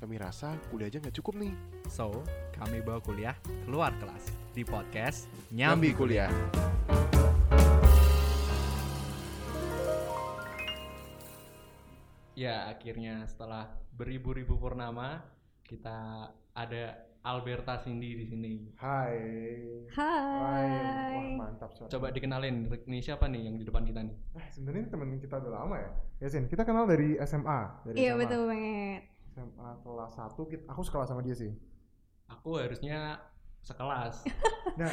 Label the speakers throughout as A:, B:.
A: Kami rasa kuliah aja nggak cukup nih.
B: So, kami bawa kuliah keluar kelas di podcast
A: Nyambi
B: Nyambi.
A: kuliah.
B: Ya, akhirnya setelah beribu-ribu purnama, kita ada Alberta Cindy di sini.
C: Hai. Hai. Wah,
D: Hai.
C: mantap suara.
B: Coba dikenalin, ini siapa nih yang di depan kita nih?
C: Eh, sebenarnya ini temen kita udah lama ya. Ya, Sin, kita kenal dari SMA, dari
D: Iya
C: SMA.
D: betul banget.
C: SMA kelas 1 kita, aku sekelas sama dia sih.
B: Aku harusnya sekelas,
C: Nah,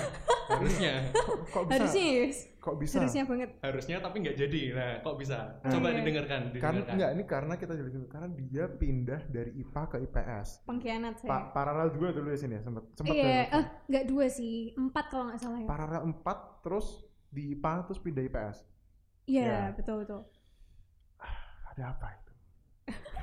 C: harusnya
B: harusnya,
C: kok bisa?
D: Harusnya yes.
C: Kok bisa?
D: Harusnya banget.
B: harusnya tapi nggak jadi. Nah, kok bisa?
C: Nah.
B: Coba
D: Iya.
B: didengarkan,
C: Karena
B: didengarkan.
C: enggak, ini karena kita jadi dulu. Karena dia pindah dari IPA ke IPS.
D: Pengkhianat
C: Pak
D: saya.
C: paralel juga dulu ya Sin ya, sempat sempat
D: Iya, eh nggak dua sih, empat kalau nggak salah ya.
C: Paralel 4 terus di IPA terus pindah IPS.
D: Iya
C: Iya.
D: betul betul.
C: Ada apa itu?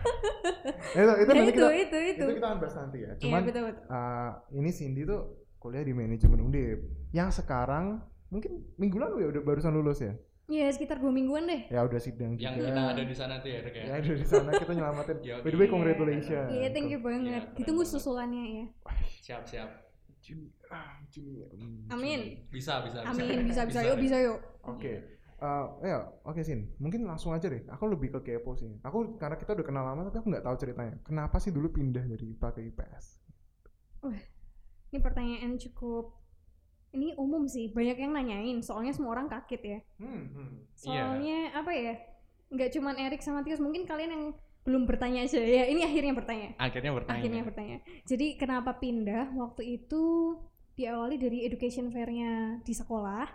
C: itu itu
D: Ya,
C: nanti
D: itu,
C: kita
D: itu itu
C: itu kita akan bahas nanti ya.
D: Iya
C: Cuman
D: betul betul.
C: Eh, ini Cindy tuh kuliah di manajemen Undip yang sekarang mungkin minggu lalu ya udah barusan lulus ya
D: Iya sekitar dua mingguan deh.
C: ya udah sidang
B: Yang
C: juga.
B: kita ada di sana tuh ya, Rek, ya.
C: ya udah di sana kita nyelamatin
B: Yo,
C: by the way
D: iya.
C: congratulations
D: Iya thank you banget.
B: keren
D: Ditunggu
B: banget.
D: susulannya ya.
B: Siap, siap.
C: Juni, ah, Juni, hmm, Juni.
D: Amin.
B: Bisa, bisa, bisa. ya.
D: Amin bisa bisa yuk
B: Rek.
D: bisa yuk.
C: oke Eh, ya, oke Sin. Mungkin langsung aja deh. Aku lebih ke kepo sih. Aku karena kita udah kenal lama tapi aku nggak tahu ceritanya. Kenapa sih dulu pindah dari IPA ke IPS?
D: Ini pertanyaan cukup. Ini umum sih, banyak yang nanyain. Soalnya semua orang kaget ya.
C: Hmm, hmm.
B: Iya.
D: Soalnya apa ya? Nggak cuman Erik sama Tius, mungkin kalian yang belum bertanya aja ya. Ini akhirnya bertanya.
B: Akhirnya bertanya.
D: akhirnya
C: ya.
D: bertanya. Jadi kenapa pindah? Waktu itu diawali dari education fair-nya di sekolah.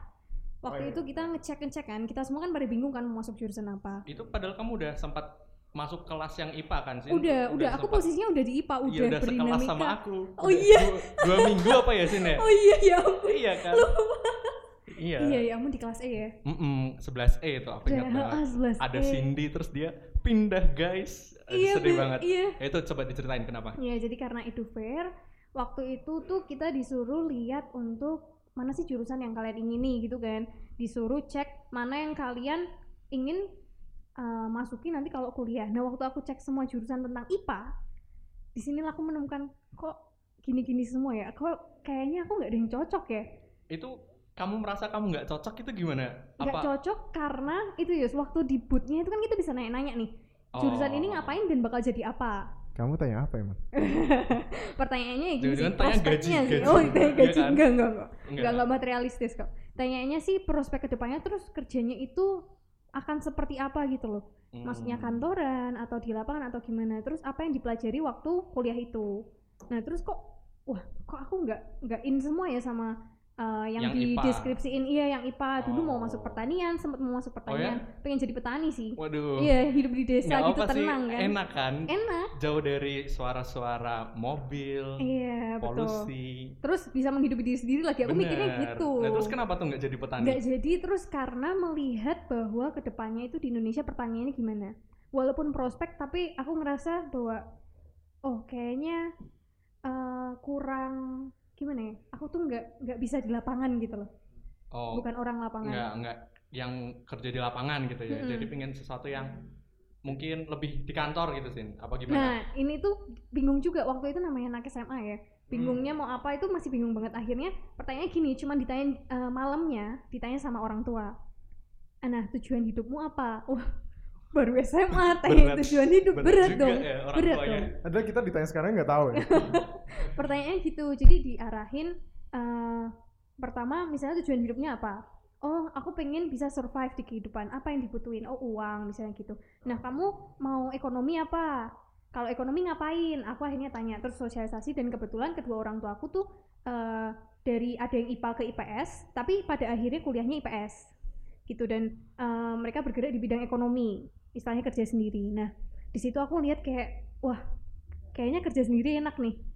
C: Oh, iya.
D: Waktu itu kita ngecek-ngecek kan, kita semua kan pada bingung kan mau masuk jurusan apa.
B: Itu padahal kamu udah sempat masuk kelas yang IPA kan sih?
D: Udah, udah, aku
B: sempat-
D: posisinya udah di IPA, udah,
B: Iya udah sekelas
D: berdinamika.
B: sama aku.
D: Oh
B: Udah
D: iya.
B: Dua, dua minggu apa ya Sin ya?
D: Oh iya, ya ampun.
B: Iya kan. Iya.
D: Iya, ya ampun di kelas E ya. ah,
B: Mm-mm, 11E itu aku ingat banget. Ada Cindy terus dia pindah guys.
D: E.
B: Aduh,
D: Iya,
B: sedih
D: Be,
B: banget.
D: Iya.
B: Ya, Itu coba diceritain kenapa?
D: Ya, jadi karena itu fair, waktu itu tuh kita disuruh lihat untuk mana sih jurusan yang kalian ingini gitu kan. Disuruh cek mana yang kalian ingin uh, masuki nanti kalau kuliah. Nah, waktu aku cek semua jurusan tentang IPA, di sinilah aku menemukan kok gini-gini semua ya. Kok kayaknya aku nggak ada yang cocok ya.
B: Itu kamu merasa kamu nggak cocok itu gimana?
D: Nggak cocok karena itu Yus, waktu di bootnya itu kan kita bisa nanya-nanya nih. Jurusan
B: Oh.
D: ini ngapain dan bakal jadi apa?
C: Kamu tanya apa emang?
D: Pertanyaannya ya gini sih,
B: Jangan-jangan tanya gaji,
D: prospeknya sih.
B: gaji.
D: Oh, tanya
B: Iya
D: gaji. Enggak,
B: kan?
D: enggak, enggak.
B: Enggak.
D: nggak nggak materialistis kok. Tanyanya sih prospek kedepannya terus kerjanya itu akan seperti apa gitu loh.
B: Hmm.
D: Maksudnya kantoran atau di lapangan atau gimana. Terus apa yang dipelajari waktu kuliah itu. Nah terus kok, wah kok aku nggak nggak in semua ya sama eh, yang,
B: Yang
D: di
B: IPA.
D: deskripsiin iya yang IPA dulu mau
B: Oh. ya?
D: masuk pertanian sempet mau masuk pertanian pengen jadi petani sih
B: Waduh.
D: iya hidup di desa
B: Nggak
D: gitu
B: apa sih,
D: tenang kan
B: Enak kan?
D: enak
B: Jauh dari suara-suara mobil,
D: iya betul
B: polusi.
D: terus bisa menghidupi diri sendiri lagi aku mikirnya
B: Bener.
D: gitu
B: Nah, terus kenapa tuh nggak jadi petani?
D: Nggak jadi terus karena melihat bahwa kedepannya itu di Indonesia pertanyaannya gimana. Walaupun prospek tapi aku ngerasa bahwa oh kayaknya eh, kurang gimana ya? Aku tuh nggak nggak bisa di lapangan gitu loh.
B: oh,
D: Bukan orang lapangan.
B: nggak nggak yang kerja di lapangan gitu ya.
D: Mm-mm.
B: Jadi pengen sesuatu yang mungkin lebih di kantor gitu sih. Apa gimana?
D: Nah, ini tuh bingung juga waktu itu namanya anak SMA ya. Bingungnya
B: Hmm.
D: mau apa itu masih bingung banget akhirnya. Pertanyaannya gini, cuman ditanya eh, malamnya, ditanya sama orang tua. "Ah, Nah, tujuan hidupmu apa? Wah, baru SMA tanya
B: Berat.
D: tujuan hidup berat,
B: juga
D: dong.
B: ya orang
D: berat
B: tuanya.
D: dong.
C: Ada kita ditanya sekarang nggak tahu ya.
D: pertanyaannya gitu jadi diarahin eh, pertama misalnya tujuan hidupnya apa oh aku pengen bisa survive di kehidupan apa yang dibutuhin oh uang misalnya gitu nah kamu mau ekonomi apa kalau ekonomi ngapain aku akhirnya tanya terus sosialisasi dan kebetulan kedua orang tua aku tuh eh, dari ada yang IPA ke IPS tapi pada akhirnya kuliahnya IPS gitu dan eh, mereka bergerak di bidang ekonomi istilahnya kerja sendiri nah di situ aku lihat kayak wah kayaknya kerja sendiri enak nih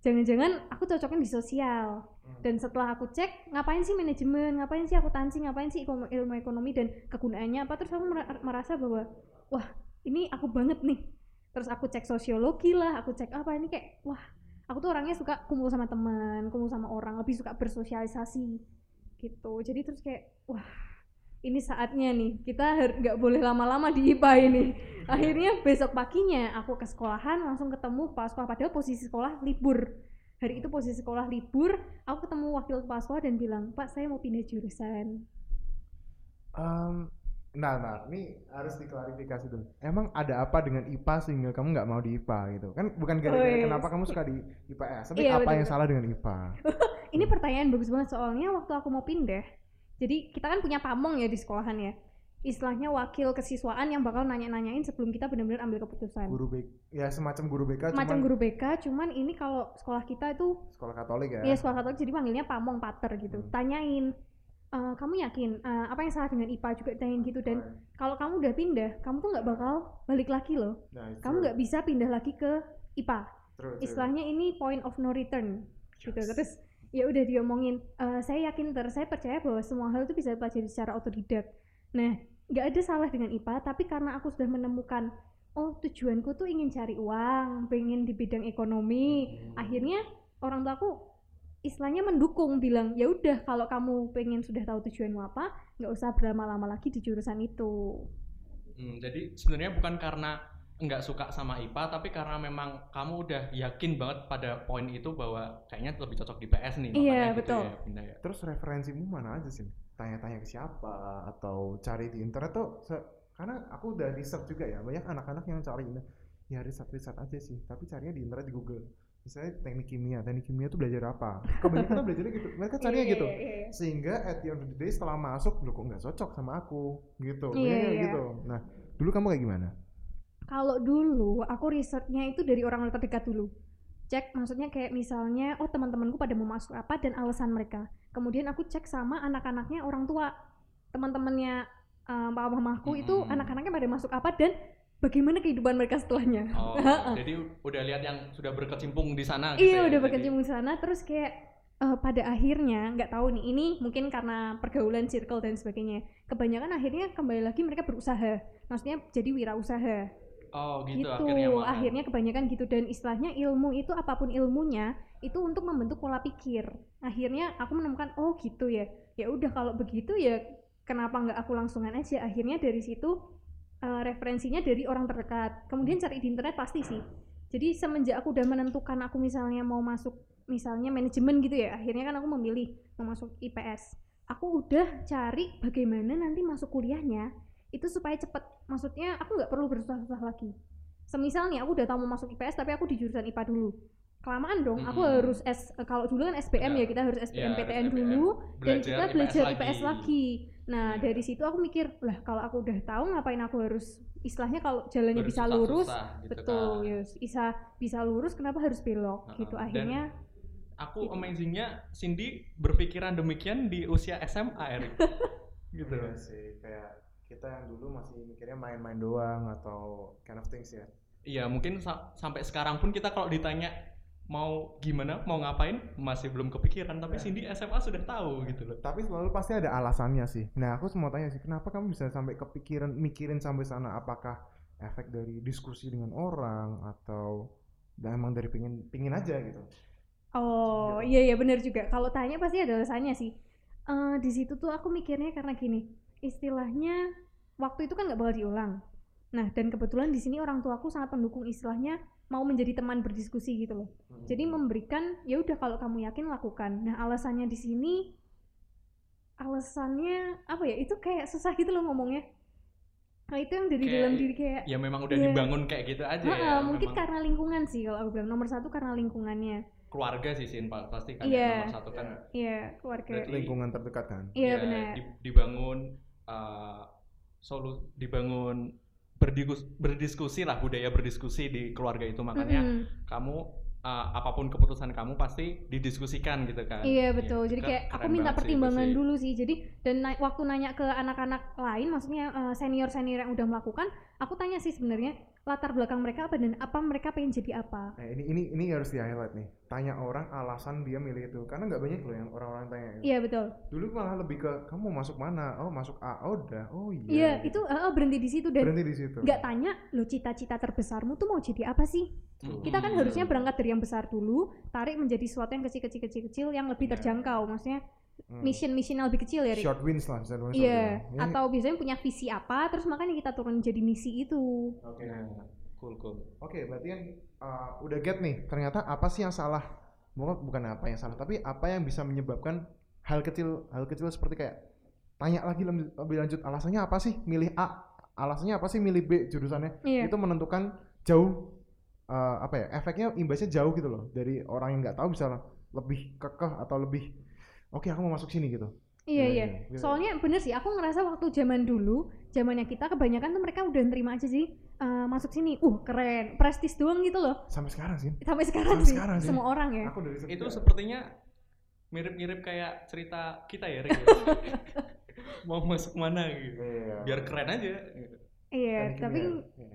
D: jangan-jangan aku cocoknya di sosial dan setelah aku cek ngapain sih manajemen ngapain sih akuntansi ngapain sih ilmu, ilmu ekonomi dan kegunaannya apa terus aku mer- merasa bahwa wah ini aku banget nih terus aku cek sosiologi lah aku cek apa ini kayak wah aku tuh orangnya suka kumpul sama teman kumpul sama orang lebih suka bersosialisasi gitu jadi terus kayak wah ini saatnya nih kita har- nggak boleh lama-lama di IPA ini akhirnya besok paginya aku ke sekolahan langsung ketemu kepala sekolah padahal posisi sekolah libur hari itu posisi sekolah libur aku ketemu wakil kepala sekolah dan bilang pak saya mau pindah jurusan
C: Em, nah, nah, ini harus diklarifikasi dulu. Emang ada apa dengan IPA sehingga kamu nggak mau di IPA gitu? Kan bukan gara-gara
D: Wes.
C: kenapa kamu suka di IPS, tapi ya? apa
D: Iya,
C: yang
D: betul-betul.
C: salah dengan IPA?
D: ini pertanyaan bagus banget soalnya waktu aku mau pindah jadi kita kan punya pamong ya di sekolahan ya istilahnya wakil kesiswaan yang bakal nanya-nanyain sebelum kita benar-benar ambil keputusan
C: Guru BK, ya semacam guru BK
D: macam
C: cuman
D: guru BK cuman ini kalau sekolah kita itu
C: sekolah Katolik ya.
D: Iya sekolah Katolik jadi panggilnya pamong pater gitu.
C: Hmm.
D: Tanyain "Eh, kamu yakin eh, apa yang salah dengan IPA juga tanyain gitu dan kalau kamu udah pindah, kamu tuh nggak bakal balik lagi loh.
C: Nah, itu.
D: Kamu nggak bisa pindah lagi ke IPA.
C: True, true.
D: Istilahnya ini point of no return gitu. Terus ya udah diomongin "Eh, saya yakin ter saya percaya bahwa semua hal itu bisa dipelajari secara otodidak. Nah, nggak ada salah dengan IPA tapi karena aku sudah menemukan oh tujuanku tuh ingin cari uang, pengen di bidang ekonomi, akhirnya orang tua aku istilahnya mendukung bilang ya udah kalau kamu pengen sudah tahu tujuanmu apa nggak usah berlama-lama lagi di jurusan itu
B: Hmm, jadi sebenarnya bukan karena nggak suka sama IPA, tapi karena memang kamu udah yakin banget pada poin itu bahwa kayaknya lebih cocok di PS
D: Iya,
B: nih. makanya gitu
D: betul.
B: ya, pindah ya.
C: Terus referensimu mana aja sih? Tanya-tanya ke siapa atau cari di internet tuh se- karena aku udah riset juga ya, banyak anak-anak yang cari ini ya riset-riset aja sih, tapi carinya di internet di Google. Misalnya teknik kimia, teknik kimia tuh belajar apa? Kebanyakan tuh belajarnya gitu, mereka
D: Iya,
C: carinya gitu. Sehingga at the end of the day setelah masuk, loh kok nggak cocok sama aku gitu. Iya
D: Iya, iya.
C: gitu. Nah, dulu kamu kayak gimana?
D: kalau dulu aku risetnya itu dari orang terdekat dulu cek maksudnya kayak misalnya oh teman-temanku pada mau masuk apa dan alasan mereka kemudian aku cek sama anak-anaknya orang tua teman-temannya eh, papa mamaku itu
B: Mm-mm.
D: anak-anaknya pada masuk apa dan bagaimana kehidupan mereka setelahnya
B: Oh, jadi udah lihat yang sudah berkecimpung di sana. gitu
D: Iya
B: ya,
D: udah
B: jadi-
D: berkecimpung di sana terus kayak eh, pada akhirnya nggak tahu nih ini mungkin karena pergaulan circle dan sebagainya kebanyakan akhirnya kembali lagi mereka berusaha maksudnya jadi wirausaha
B: Oh gitu,
D: gitu
B: akhirnya. malah.
D: akhirnya kebanyakan gitu dan istilahnya ilmu itu apapun ilmunya itu untuk membentuk pola pikir akhirnya aku menemukan oh gitu ya ya udah kalau begitu ya kenapa nggak aku langsungan aja akhirnya dari situ eh, referensinya dari orang terdekat kemudian cari di internet pasti sih jadi semenjak aku udah menentukan aku misalnya mau masuk misalnya manajemen gitu ya akhirnya kan aku memilih mau masuk IPS aku udah cari bagaimana nanti masuk kuliahnya itu supaya cepet maksudnya aku nggak perlu bersusah-susah lagi semisal nih aku udah tahu mau masuk IPS tapi aku di jurusan IPA dulu kelamaan dong aku
B: Mm-mm.
D: harus S eh, kalau dulu kan SBM ya
B: Benar.
D: kita harus SBM
B: Ya, harus
D: PTN
B: SBM.
D: dulu dan
B: Belajar
D: kita
B: IPS
D: belajar IPS,
B: lagi.
D: lagi nah
B: Iya.
D: dari situ aku mikir lah kalau aku udah tahu ngapain aku harus istilahnya kalau jalannya bisa lurus
B: Bersusah-susah gitu
D: betul
B: kan.
D: yes. bisa bisa lurus kenapa harus belok
B: Heeh.
D: gitu
B: Dan-
D: akhirnya Gitu.
B: Aku amazingnya Cindy berpikiran demikian di usia SMA, Erik. gitu.
C: Iya sih, kayak kita yang dulu masih mikirnya main-main doang atau kind of things ya.
B: Iya, mungkin sa- sampai sekarang pun kita kalau ditanya mau gimana, mau ngapain, masih belum kepikiran. Tapi
C: Ya.
B: Cindy SMA sudah tahu gitu loh.
C: tapi selalu pasti ada alasannya sih. Nah, aku mau tanya sih, kenapa kamu bisa sampai kepikiran mikirin sampai sana? Apakah efek dari diskusi dengan orang atau dan emang dari pingin pingin aja gitu?
D: Oh iya iya benar juga. Kalau tanya pasti ada alasannya sih. Eh di situ tuh aku mikirnya karena gini, istilahnya waktu itu kan nggak bakal diulang. Nah dan kebetulan di sini orang tuaku sangat mendukung istilahnya mau menjadi teman berdiskusi gitu loh.
B: Hmm.
D: Jadi memberikan ya udah kalau kamu yakin lakukan. Nah alasannya di sini alasannya apa ya? Itu kayak susah gitu loh ngomongnya. Nah itu yang dari
B: Kayak-
D: dalam diri kayak
B: Ya memang udah
D: Iya.
B: dibangun kayak gitu aja
D: "Ah,
B: ya.
D: ah, mungkin
B: memang
D: karena lingkungan sih kalau aku bilang nomor satu karena lingkungannya.
B: keluarga sih Sin pa- pasti kan
D: Iya.
B: yang nomor satu kan.
D: Iya keluarga.
B: Berarti-
C: lingkungan terdekat kan?
D: Iya
B: ya,
D: benar.
B: di- dibangun eh solu dibangun berdikus- berdiskusi lah budaya berdiskusi di keluarga itu makanya
D: Mm-mm.
B: kamu eh, apapun keputusan kamu pasti didiskusikan gitu kan.
D: Iya
B: Ya,
D: betul. Jadi
B: kan
D: kayak aku minta
B: keren banget sih itu
D: pertimbangan
B: sih.
D: dulu sih. Jadi dan na- waktu nanya ke anak-anak lain, maksudnya senior senior yang udah melakukan, aku tanya sih sebenarnya latar belakang mereka apa dan apa mereka pengen jadi apa.
C: Nah, ini ini ini harus di highlight nih. Tanya orang alasan dia milih itu, karena nggak banyak loh yang orang-orang tanya. gitu.
D: Iya betul.
C: Dulu malah lebih ke kamu mau masuk mana? Oh masuk A, oh udah, oh iya.
D: Iya itu eh, eh, berhenti di situ dan
C: berhenti di situ.
D: nggak tanya lo cita-cita terbesarmu tuh mau jadi apa sih?
B: Hmm.
D: Kita kan harusnya berangkat dari yang besar dulu, tarik menjadi sesuatu yang kecil-kecil-kecil-kecil yang lebih
B: Iya.
D: terjangkau. Maksudnya
C: Hmm.
D: mission mission lebih kecil ya Rik?
C: short wins lah bisa dibilang short
D: Iya,
C: win. Ya,
D: atau biasanya punya visi apa, terus makanya kita turun jadi misi itu.
C: oke
B: Nah, cool cool.
C: Oke, berarti kan uh, udah get nih. Ternyata apa sih yang salah? Mungkin bukan apa yang salah, tapi apa yang bisa menyebabkan hal kecil hal kecil seperti kayak tanya lagi lem- lebih lanjut alasannya apa sih milih A, alasannya apa sih milih B jurusannya?
D: Iya.
C: Itu menentukan jauh uh, apa ya? Efeknya imbasnya jauh gitu loh dari orang yang nggak tahu bisa lebih kekeh atau lebih oke aku mau masuk sini gitu.
D: Iya,
C: Nah,
D: iya.
C: iya.
D: Soalnya bener sih, aku ngerasa waktu zaman dulu, zamannya kita kebanyakan tuh mereka udah nerima aja sih eh, masuk sini. Uh, keren. Prestis doang gitu loh.
C: Sampai sekarang sih.
D: Sampai sekarang,
C: Sampai
D: sih,
C: sekarang sih. Nah,
D: semua orang ya.
C: Aku dari
B: Itu
C: sekitar-
B: sepertinya mirip-mirip kayak cerita kita ya, Rick. Mau masuk mana gitu.
C: Iya.
B: Biar keren aja. gitu.
D: Iya,
C: Teknik
D: tapi
C: kimia. Iya.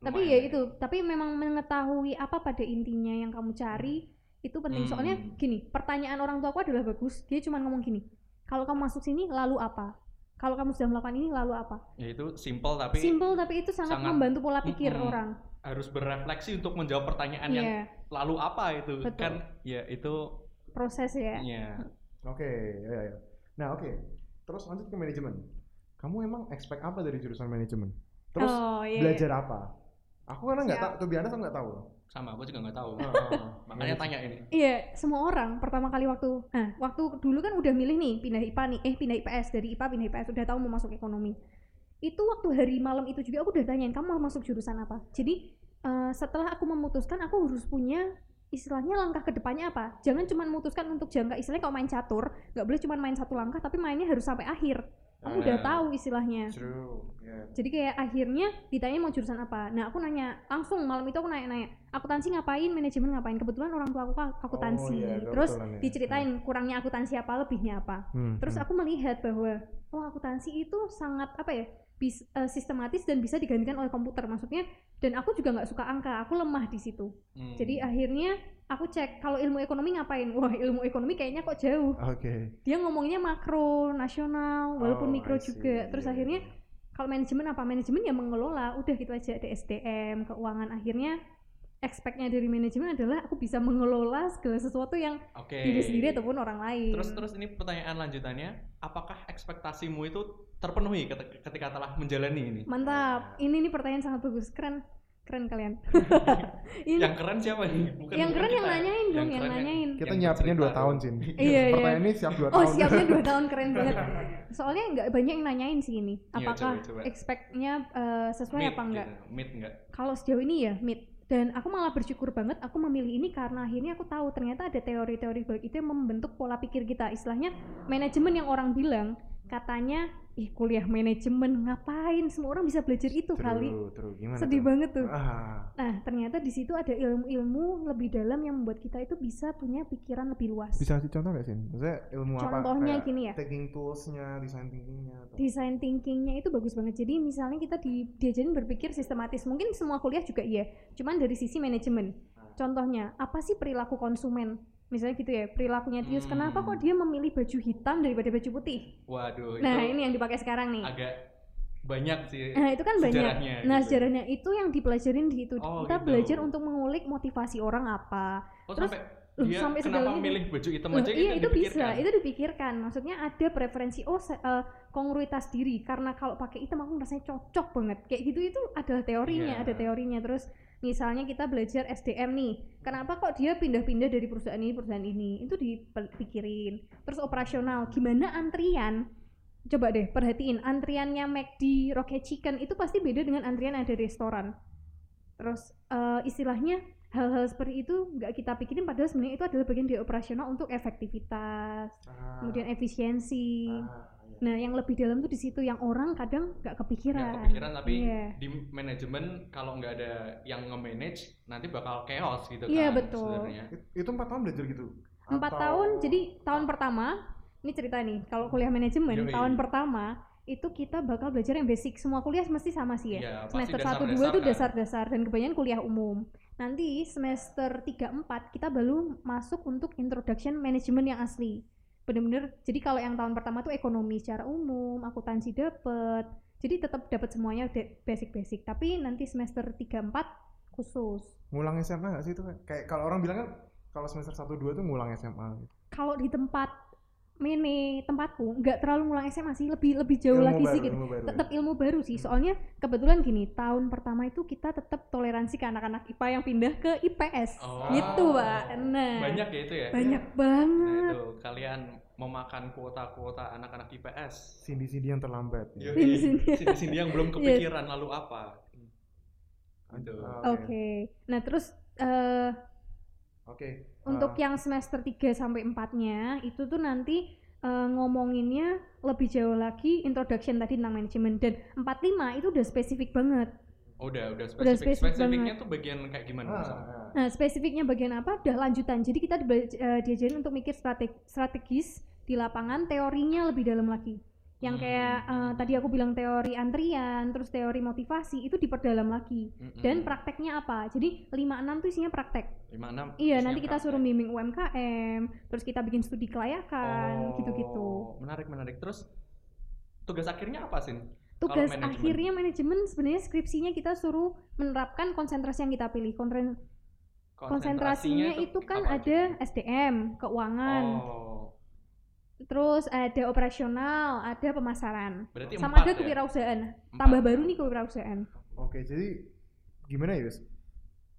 D: tapi
B: Lumayan.
D: ya itu, tapi memang mengetahui apa pada intinya yang kamu cari itu penting.
B: Hmm.
D: Soalnya gini, pertanyaan orang tua aku adalah bagus. Dia cuma ngomong gini, kalau kamu masuk sini lalu apa? Kalau kamu sudah melakukan ini lalu apa?
B: Ya itu simple tapi
D: Simple tapi itu sangat,
B: sangat-
D: membantu pola pikir
B: Mm-mm.
D: orang.
B: harus berefleksi untuk menjawab pertanyaan
D: Iya,
B: yang lalu apa itu
D: Betul.
B: kan ya itu
D: proses ya.
B: ya
C: Oke, ya, ya, ya. Nah, oke. Terus lanjut ke manajemen. Kamu emang expect apa dari jurusan manajemen? Terus
D: oh, iya, iya.
C: belajar apa? Aku karena nggak
D: Siap.
C: tahu, tuh biasa nggak tahu.
B: sama aku juga nggak tahu
C: Heeh.
B: makanya tanya ini
D: Iya, semua orang pertama kali waktu nah, waktu dulu kan udah milih nih pindah IPA nih, eh pindah IPS dari IPA pindah IPS udah tahu mau masuk ekonomi. Itu waktu hari malam itu juga aku udah tanyain kamu mau masuk jurusan apa. Jadi eh, setelah aku memutuskan aku harus punya istilahnya langkah kedepannya apa. Jangan cuma memutuskan untuk jangka istilahnya kalau main catur nggak boleh cuma main satu langkah tapi mainnya harus sampai akhir. Kamu udah
B: Nah.
D: tahu istilahnya.
C: Ya, True. Ya.
D: Jadi kayak akhirnya ditanya mau jurusan apa. Nah aku nanya langsung malam itu aku nanya-nanya akuntansi ngapain, manajemen ngapain. Kebetulan orang tua aku kan
C: Oh,
D: akuntansi.
C: iya,
D: Terus
C: kebetulan ya.
D: diceritain kurangnya akuntansi apa, lebihnya apa.
C: Hmm,
D: Terus
C: hmm.
D: aku melihat bahwa oh akuntansi itu sangat apa ya bis- eh, sistematis dan bisa digantikan oleh komputer. Maksudnya dan aku juga nggak suka angka, aku lemah di situ.
B: Hmm.
D: Jadi ah, akhirnya aku cek kalau ilmu ekonomi ngapain. Wah ilmu ekonomi kayaknya kok jauh.
C: Oke.
D: Dia ngomongnya makro, nasional, walaupun
C: Oh, I
D: mikro
C: see.
D: juga.
C: Iya,
D: Terus akhirnya
C: iya.
D: kalau manajemen apa manajemen ya mengelola udah gitu aja ada SDM keuangan akhirnya expect-nya dari manajemen adalah aku bisa mengelola segala sesuatu yang
B: oke
D: diri sendiri ataupun orang lain
B: terus terus ini pertanyaan lanjutannya apakah ekspektasimu itu terpenuhi ket- ketika telah menjalani ini
D: mantap ini nih pertanyaan sangat bagus keren keren kalian ini
B: yang keren siapa nih bukan
D: yang
B: bukan
D: keren yang
B: kita. ya.
D: nanyain dong yang, nanyain
C: Kita
B: yang
C: nyiapinnya
B: bercerita
C: dua
B: dong.
C: tahun, Sin.
D: Iya, iya.
C: Pertanyaan ini siap dua
D: oh
C: tahun.
D: siapnya dua tahun keren banget soalnya nggak banyak yang nanyain sih ini
B: Iya,
D: apakah
B: coba, coba.
D: expect-nya eh, sesuai
B: Mid
D: apa enggak
B: gitu, mid enggak
D: kalau sejauh ini ya mid dan aku malah bersyukur banget aku memilih ini karena akhirnya aku tahu ternyata ada teori-teori baik itu yang membentuk pola pikir kita istilahnya manajemen yang orang bilang katanya ih kuliah manajemen ngapain semua orang bisa belajar itu kali
C: True, true. Gimana
D: sedih
C: tuh?
D: banget tuh
C: Ah,
D: nah ternyata di situ ada ilmu-ilmu lebih dalam yang membuat kita itu bisa punya pikiran lebih luas
C: bisa kasih contoh nggak, Sin? Maksudnya ilmu apa?
D: contohnya
C: Kayak
D: gini ya
C: Thinking tools-nya, design thinking-nya. atau-
D: desain thinkingnya itu bagus banget jadi misalnya kita di, diajarin berpikir sistematis mungkin semua kuliah juga iya cuman dari sisi manajemen
B: Hmm.
D: contohnya apa sih perilaku konsumen misalnya gitu ya perilakunya Tius
B: Hmm.
D: kenapa kok dia memilih baju hitam daripada baju putih
B: waduh
D: nah
B: itu
D: ini yang dipakai sekarang nih
B: agak banyak sih
D: nah itu kan banyak
B: sejarahnya
D: nah
B: gitu.
D: sejarahnya itu yang dipelajarin di itu
B: Oh,
D: kita
B: gitu.
D: belajar untuk mengulik motivasi orang apa
B: oh,
D: terus-
B: sampai
D: Loh,
B: dia
D: sampai
B: kenapa
D: sedalam itu.
B: milih baju hitam
D: Loh,
B: aja
D: iya itu bisa,
B: gitu dipikirkan.
D: itu dipikirkan. Maksudnya ada preferensi oh se- eh, kongruitas diri karena kalau pakai hitam aku rasanya cocok banget. Kayak gitu itu adalah teorinya,
B: Iya.
D: ada teorinya. Terus misalnya kita belajar SDM nih, kenapa kok dia pindah-pindah dari perusahaan ini perusahaan ini? Itu dipikirin. Terus operasional, gimana antrian? Coba deh perhatiin antriannya McD, Rocket Chicken itu pasti beda dengan antrian yang ada di restoran. Terus eh, istilahnya hal-hal seperti itu nggak kita pikirin padahal sebenarnya itu adalah bagian dari operasional untuk efektivitas
C: Ah,
D: kemudian efisiensi
C: ah, iya.
D: nah yang lebih dalam tuh di situ yang orang kadang nggak
B: nggak
D: kepikiran
B: kepikiran tapi
D: Iya.
B: di manajemen kalau nggak ada yang nge-manage nanti bakal chaos gitu
D: Iya,
B: kan
D: betul.
B: sebenarnya.
C: It- Itu empat tahun belajar gitu?
D: empat
C: Atau-
D: tahun jadi tahun pertama ini cerita nih kalau kuliah manajemen
B: Yoi.
D: tahun pertama itu kita bakal belajar yang basic semua kuliah mesti sama sih ya
B: Iya, pasti
D: semester 1
B: dasar-dasar
D: 2 tuh
B: kan.
D: dasar-dasar dan kebanyakan kuliah umum nanti semester 3 4 kita baru masuk untuk introduction management yang asli bener-bener jadi kalau yang tahun pertama tuh ekonomi secara umum akuntansi dapet jadi tetap dapat semuanya de- basic-basic tapi nanti semester 3 4 khusus
C: ngulang SMA nggak sih itu kayak kalau orang bilang kan kalau semester 1 2 tuh ngulang SMA
D: kalau di tempat ini tempatku nggak terlalu ngulang SMA sih lebih lebih jauh
C: Ilmu
D: lagi
C: baru,
D: sih gitu
C: ilmu baru ya.
D: tetap ilmu baru sih
C: Hmm.
D: soalnya kebetulan gini tahun pertama itu kita tetap toleransi ke anak-anak IPA yang pindah ke IPS
B: Oh.
D: gitu pak nah
B: Banyak ya itu ya.
D: banyak
B: Nah,
D: banget
B: itu kalian memakan kuota-kuota anak-anak IPS.
C: Sindi-sindi yang terlambat ya.
B: Yoi.
D: Sini-sini.
B: Sini-sini
D: Iya.
B: yang belum kepikiran lalu apa? Gitu.
C: Oke.
D: oke nah terus eh
C: Oke.
D: untuk
C: Ah,
D: yang semester 3 sampai 4-nya itu tuh nanti eh, ngomonginnya lebih jauh lagi introduction tadi tentang manajemen dan 45 itu udah spesifik banget.
B: Oh, udah, udah spesifik.
D: Udah spesifik
B: Spesifiknya tuh bagian kayak gimana?
C: ah,
B: Sam?
C: ah.
D: Nah, spesifiknya bagian apa? Udah lanjutan. Jadi kita dibela- eh, diajarin untuk mikir strateg- strategis di lapangan, teorinya lebih dalam lagi. Yang
B: Hmm.
D: kayak eh, tadi aku bilang teori antrian, terus teori motivasi itu diperdalam lagi.
B: Mm-mm.
D: Dan prakteknya apa? Jadi 56 tuh isinya praktek.
B: Lima, enam,
D: Iya,
B: isinya
D: nanti kita
B: praktek.
D: suruh bimbing UMKM, terus kita bikin studi kelayakan, gitu-gitu.
B: Oh, Menarik, menarik. Terus tugas akhirnya apa, Sin?
D: tugas
B: manajemen?
D: akhirnya manajemen sebenarnya skripsinya kita suruh menerapkan konsentrasi yang kita pilih Kontren- konsentrasinya itu kan
B: apa
D: ada
B: aja?
D: SDM keuangan
B: Oh,
D: terus ada operasional ada pemasaran
B: berarti
D: sama
B: empat
D: ada
B: ya?
D: kewirausahaan
B: Empat.
D: tambah baru nih kewirausahaan
C: Oke, jadi gimana ya, Yus?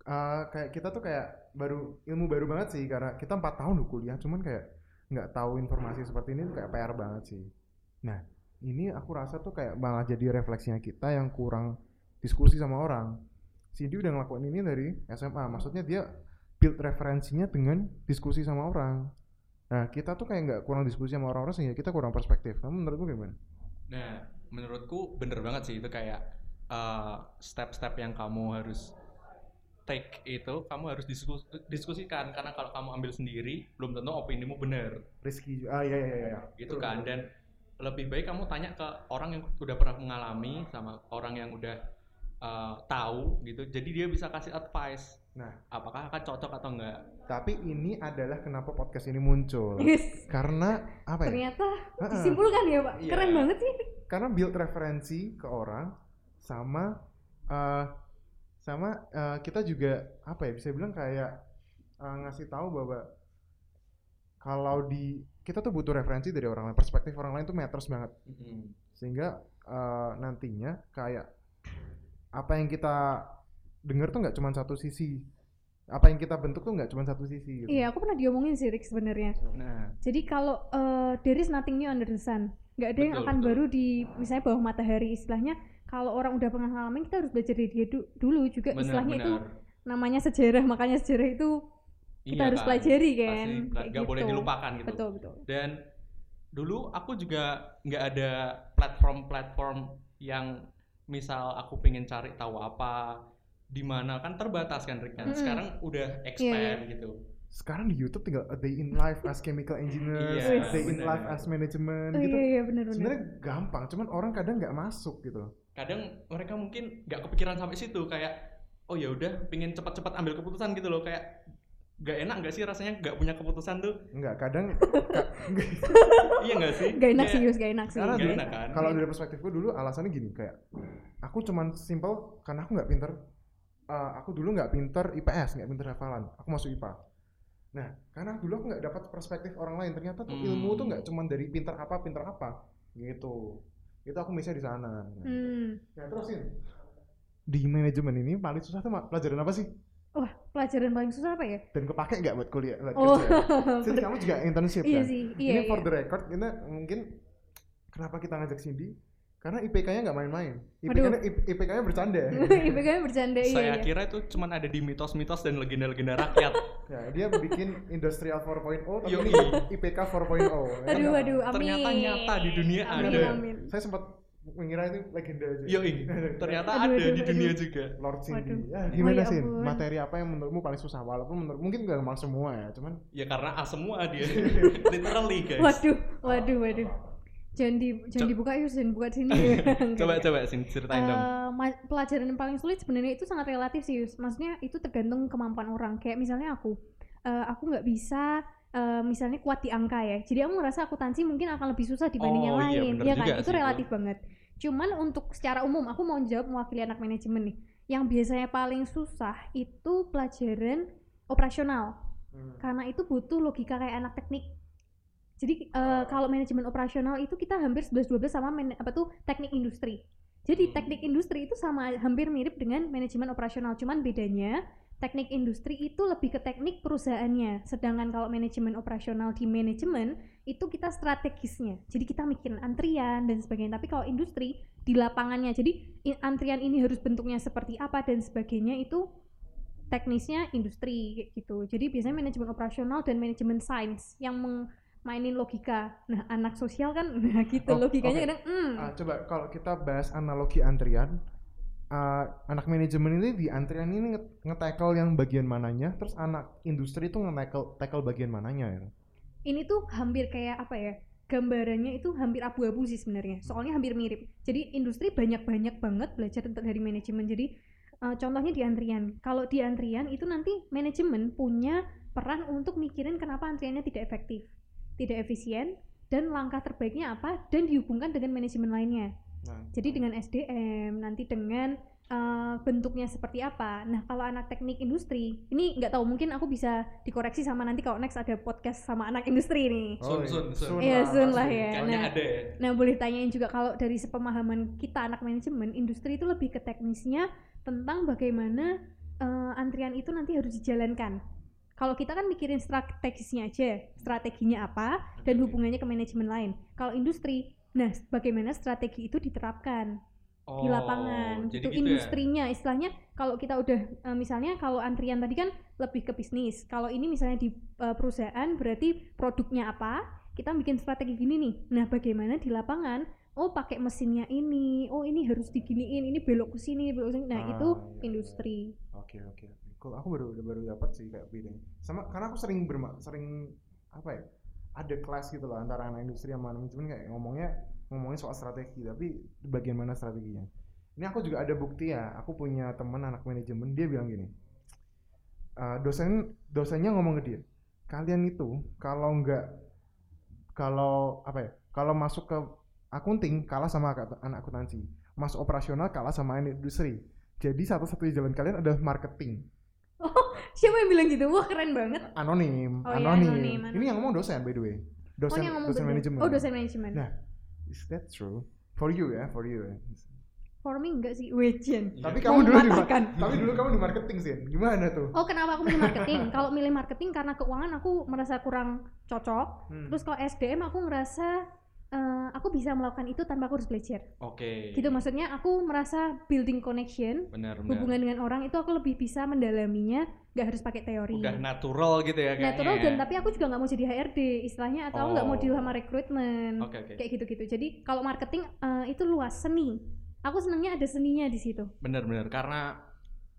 C: Ah, kayak kita tuh kayak baru ilmu baru banget sih karena kita empat tahun loh kuliah, cuman kayak nggak tahu informasi seperti ini tuh kayak PR banget sih. Nah, ini aku rasa tuh kayak malah jadi refleksinya kita yang kurang diskusi sama orang. Cindy udah ngelakuin ini dari SMA, maksudnya dia build referensinya dengan diskusi sama orang. Nah, kita tuh kayak nggak kurang diskusi sama orang-orang sehingga kita kurang perspektif. Kamu menurutmu gimana?
B: Nah, menurutku bener banget sih itu kayak eh, step-step yang kamu harus take itu kamu harus diskus- diskusikan karena kalau kamu ambil sendiri belum tentu opinimu bener
C: Rizky, ju- ah iya iya iya. iya.
B: gitu kan dan lebih baik kamu tanya ke orang yang udah pernah mengalami sama orang yang udah eh, tahu gitu jadi dia bisa kasih advice
C: Nah.
B: apakah akan cocok atau enggak
C: Tapi ini adalah kenapa podcast ini muncul.
D: Yes.
C: Karena apa ya?
D: ternyata
C: Ha-ha.
D: disimpulkan ya pak
B: Eh. Iya.
D: keren banget sih
C: Karena build referensi ke orang sama eh, sama eh, kita juga apa ya bisa bilang kayak eh, ngasih tahu bahwa kalau di kita tuh butuh referensi dari orang lain, perspektif orang lain tuh matters banget.
B: Mm-mm.
C: Sehingga eh, nantinya kayak apa yang kita dengar tuh nggak cuma satu sisi. Apa yang kita bentuk tuh nggak cuma satu sisi gitu.
D: iya aku pernah diomongin sih Rick sebenarnya
B: nah
D: Jadi kalau eh, there is nothing new under the sun, nggak ada yang
B: Betul,
D: akan
B: betul.
D: baru di misalnya bawah matahari istilahnya. Kalau orang udah pernah ngalamin, kita harus belajar dari dia du- dulu juga. istilahnya itu
B: benar-benar
D: namanya sejarah, makanya sejarah itu kita harus pelajari kan. Kayak
B: Iya nggak boleh
D: gitu.
B: dilupakan gitu
D: betul betul.
B: dan dulu aku juga nggak ada platform-platform yang misal aku pengen cari tahu apa di mana kan terbatas kan Rick kan
D: Mm-mm. Iya,
B: sekarang udah expand gitu
C: sekarang di YouTube tinggal a day in life as chemical engineers, a
B: Iya,
C: day in
B: bener.
C: life as management
D: Oh,
C: gitu.
D: iya iya benar benar.
C: Sebenarnya gampang, cuman orang kadang nggak masuk gitu.
B: kadang mereka mungkin nggak kepikiran sampai situ kayak oh ya udah pengen cepat-cepat ambil keputusan gitu loh kayak nggak enak nggak sih rasanya nggak punya keputusan tuh
C: Nggak kadang ka-
B: iya nggak sih
D: Gak enak sih,
B: Kayak-
D: Yus, gak enak sih.
C: Karena
B: nggak
C: dulu-
B: enak kan
C: kalau dari perspektifku dulu alasannya gini kayak aku cuman simple karena aku nggak pinter. eh, aku dulu nggak pinter IPS, nggak pinter hafalan. Aku masuk IPA. Nah, karena dulu aku nggak dapat perspektif orang lain. Ternyata tuh ilmu
B: Hmm.
C: tuh nggak cuman dari pinter apa, pinter apa gitu. Itu aku misalnya di sana. Nah,
D: Hmm.
C: terus Sin, di manajemen ini paling susah tuh ma- pelajaran apa sih?
D: Wah, pelajaran paling susah apa ya?
C: dan kepake nggak buat kuliah buat
D: Oh,
C: kerja? Cindy kamu juga internship
D: iya
C: kan
D: sih. Iya,
C: ini for
D: iya.
C: the record ini mungkin kenapa kita ngajak Cindy karena IPK-nya nggak main-main IPK-nya IPK-nya bercanda
D: IPK-nya bercanda, iya,
B: saya
D: iya.
B: kira itu cuman ada di mitos-mitos dan legenda-legenda rakyat
C: ya dia bikin industrial 4.0 tapi ini
B: Yoi.
C: IPK 4.0 ya kan?
D: Aduh, aduh, amin.
B: Ternyata nyata di dunia
D: amin,
B: ada.
D: Amin,
C: saya sempat mengira itu legenda aja
B: yoi ternyata
D: Aduh,
B: ada
D: aduh,
B: di
D: aduh.
B: dunia juga
C: Lord
D: Waduh.
C: Cindy Ya,
D: Oh,
C: gimana
D: ya
C: sih
D: ampun.
C: materi apa yang menurutmu paling susah walaupun menurut mungkin nggak gampang semua ya cuman
B: ya karena A semua dia literally guys
D: Waduh, waduh, waduh. Jangan di jangan
B: Co-
D: dibuka yuk, jangan dibuka di sini.
B: coba coba sini ceritain dong
D: Eh, ma- pelajaran yang paling sulit sebenarnya itu sangat relatif sih, Yus. Maksudnya itu tergantung kemampuan orang. Kayak misalnya aku, eh, aku nggak bisa eh, misalnya kuat di angka ya. Jadi aku ngerasa akuntansi mungkin akan lebih susah dibanding
B: Oh,
D: yang
B: iya,
D: lain,
B: bener
D: ya kan?
B: juga
D: Itu
B: sih, iya.
D: relatif banget. Cuman untuk secara umum, aku mau jawab mewakili anak manajemen nih. Yang biasanya paling susah itu pelajaran operasional,
C: hmm.
D: karena itu butuh logika kayak anak teknik. Jadi eh, kalau manajemen operasional itu kita hampir 11-12 sama men- apa tuh teknik industri. Jadi
B: Hmm.
D: teknik industri itu sama hampir mirip dengan manajemen operasional, cuman bedanya teknik industri itu lebih ke teknik perusahaannya. Sedangkan kalau manajemen operasional di manajemen itu kita strategisnya. Jadi kita mikirin antrian dan sebagainya. Tapi kalau industri di lapangannya, jadi i- antrian ini harus bentuknya seperti apa dan sebagainya itu teknisnya industri kayak gitu. Jadi biasanya manajemen operasional dan manajemen sains yang meng- mainin logika. Nah, anak sosial kan nah gitu
C: Oh,
D: logikanya
C: oke.
D: kadang hmm.
C: Ah, coba kalau kita bahas analogi antrian, ah, anak manajemen ini di antrian ini nge- nge-tackle yang bagian mananya, terus anak industri itu nge-tackle tackle bagian mananya ya.
D: ini tuh hampir kayak apa ya gambarannya itu hampir abu-abu sih sebenarnya soalnya hampir mirip jadi industri banyak-banyak banget belajar tentang dari manajemen jadi eh, contohnya di antrian kalau di antrian itu nanti manajemen punya peran untuk mikirin kenapa antriannya tidak efektif tidak efisien dan langkah terbaiknya apa dan dihubungkan dengan manajemen lainnya
C: Nah,
D: jadi dengan SDM nanti dengan eh, bentuknya seperti apa. Nah kalau anak teknik industri ini nggak tahu mungkin aku bisa dikoreksi sama nanti kalau next ada podcast sama anak industri nih.
C: Oh,
B: Sun, sun, sun.
D: Iya, sun lah
C: pasti.
D: ya.
B: Kayaknya
D: nah.
B: ada ya.
D: Nah boleh tanyain juga kalau dari sepemahaman kita anak manajemen industri itu lebih ke teknisnya tentang bagaimana eh, antrian itu nanti harus dijalankan. Kalau kita kan mikirin strategisnya aja, strateginya apa dan hubungannya ke manajemen lain. Kalau industri, nah bagaimana strategi itu diterapkan di
B: Oh,
D: lapangan
B: jadi
D: gitu,
B: gitu ya?
D: industrinya istilahnya kalau kita udah eh, misalnya kalau antrian tadi kan lebih ke bisnis kalau ini misalnya di eh, perusahaan berarti produknya apa kita bikin strategi gini nih nah bagaimana di lapangan oh pakai mesinnya ini oh ini harus diginiin ini belok ke sini belok ke sini nah
C: Ah,
D: itu
C: iya, iya.
D: industri
C: Oke oke oke. Cool. Aku baru baru dapat sih kayak bedanya. Sama karena aku sering berma sering apa ya? Ada kelas gitu loh antara anak industri sama anak manajemen kayak ngomongnya ngomongin soal strategi tapi bagian mana strateginya. Ini aku juga ada bukti ya. Aku punya teman anak manajemen dia bilang gini. Eh dosen dosennya ngomong ke dia, kalian itu kalau nggak kalau apa ya? Kalau masuk ke akunting kalah sama ak- anak akuntansi, masuk operasional kalah sama anak industri. Jadi satu-satunya jalan kalian adalah marketing.
D: siapa yang bilang gitu wah keren banget
C: Anonim,
D: Oh iya,
C: anonim.
D: anonim,
C: Ini
D: anonim.
C: yang ngomong dosen by the way.
D: oh
C: Dosen,
D: yang ngomong
C: dosen
D: bener.
C: manajemen.
D: oh dosen manajemen
C: Nah. Is that true? For you ya, for you ya.
D: for me enggak sih wejen
B: Iya.
C: Tapi
D: Mau
C: kamu dulu di
D: mematahkan.
C: tapi dulu kamu di marketing sih. ya? Gimana tuh?
D: Oh kenapa aku milih marketing? Kalau milih marketing karena keuangan aku merasa kurang cocok
C: Hmm.
D: Terus kalau SDM aku ngerasa eh, aku bisa melakukan itu tanpa aku harus belajar.
B: Oke.
D: Gitu maksudnya aku merasa building connection,
B: Benar, Iya. benar.
D: hubungan dengan orang itu aku lebih bisa mendalaminya, nggak harus pakai teori.
B: udah natural gitu ya kayaknya.
D: Natural dan tapi aku juga nggak mau jadi HRD istilahnya atau nggak mau
B: Oh.
D: dilamar rekrutmen
B: Oke, oke.
D: kayak gitu-gitu. Jadi kalau marketing eh, itu luas seni. Aku senangnya ada seninya di situ.
B: Benar-benar karena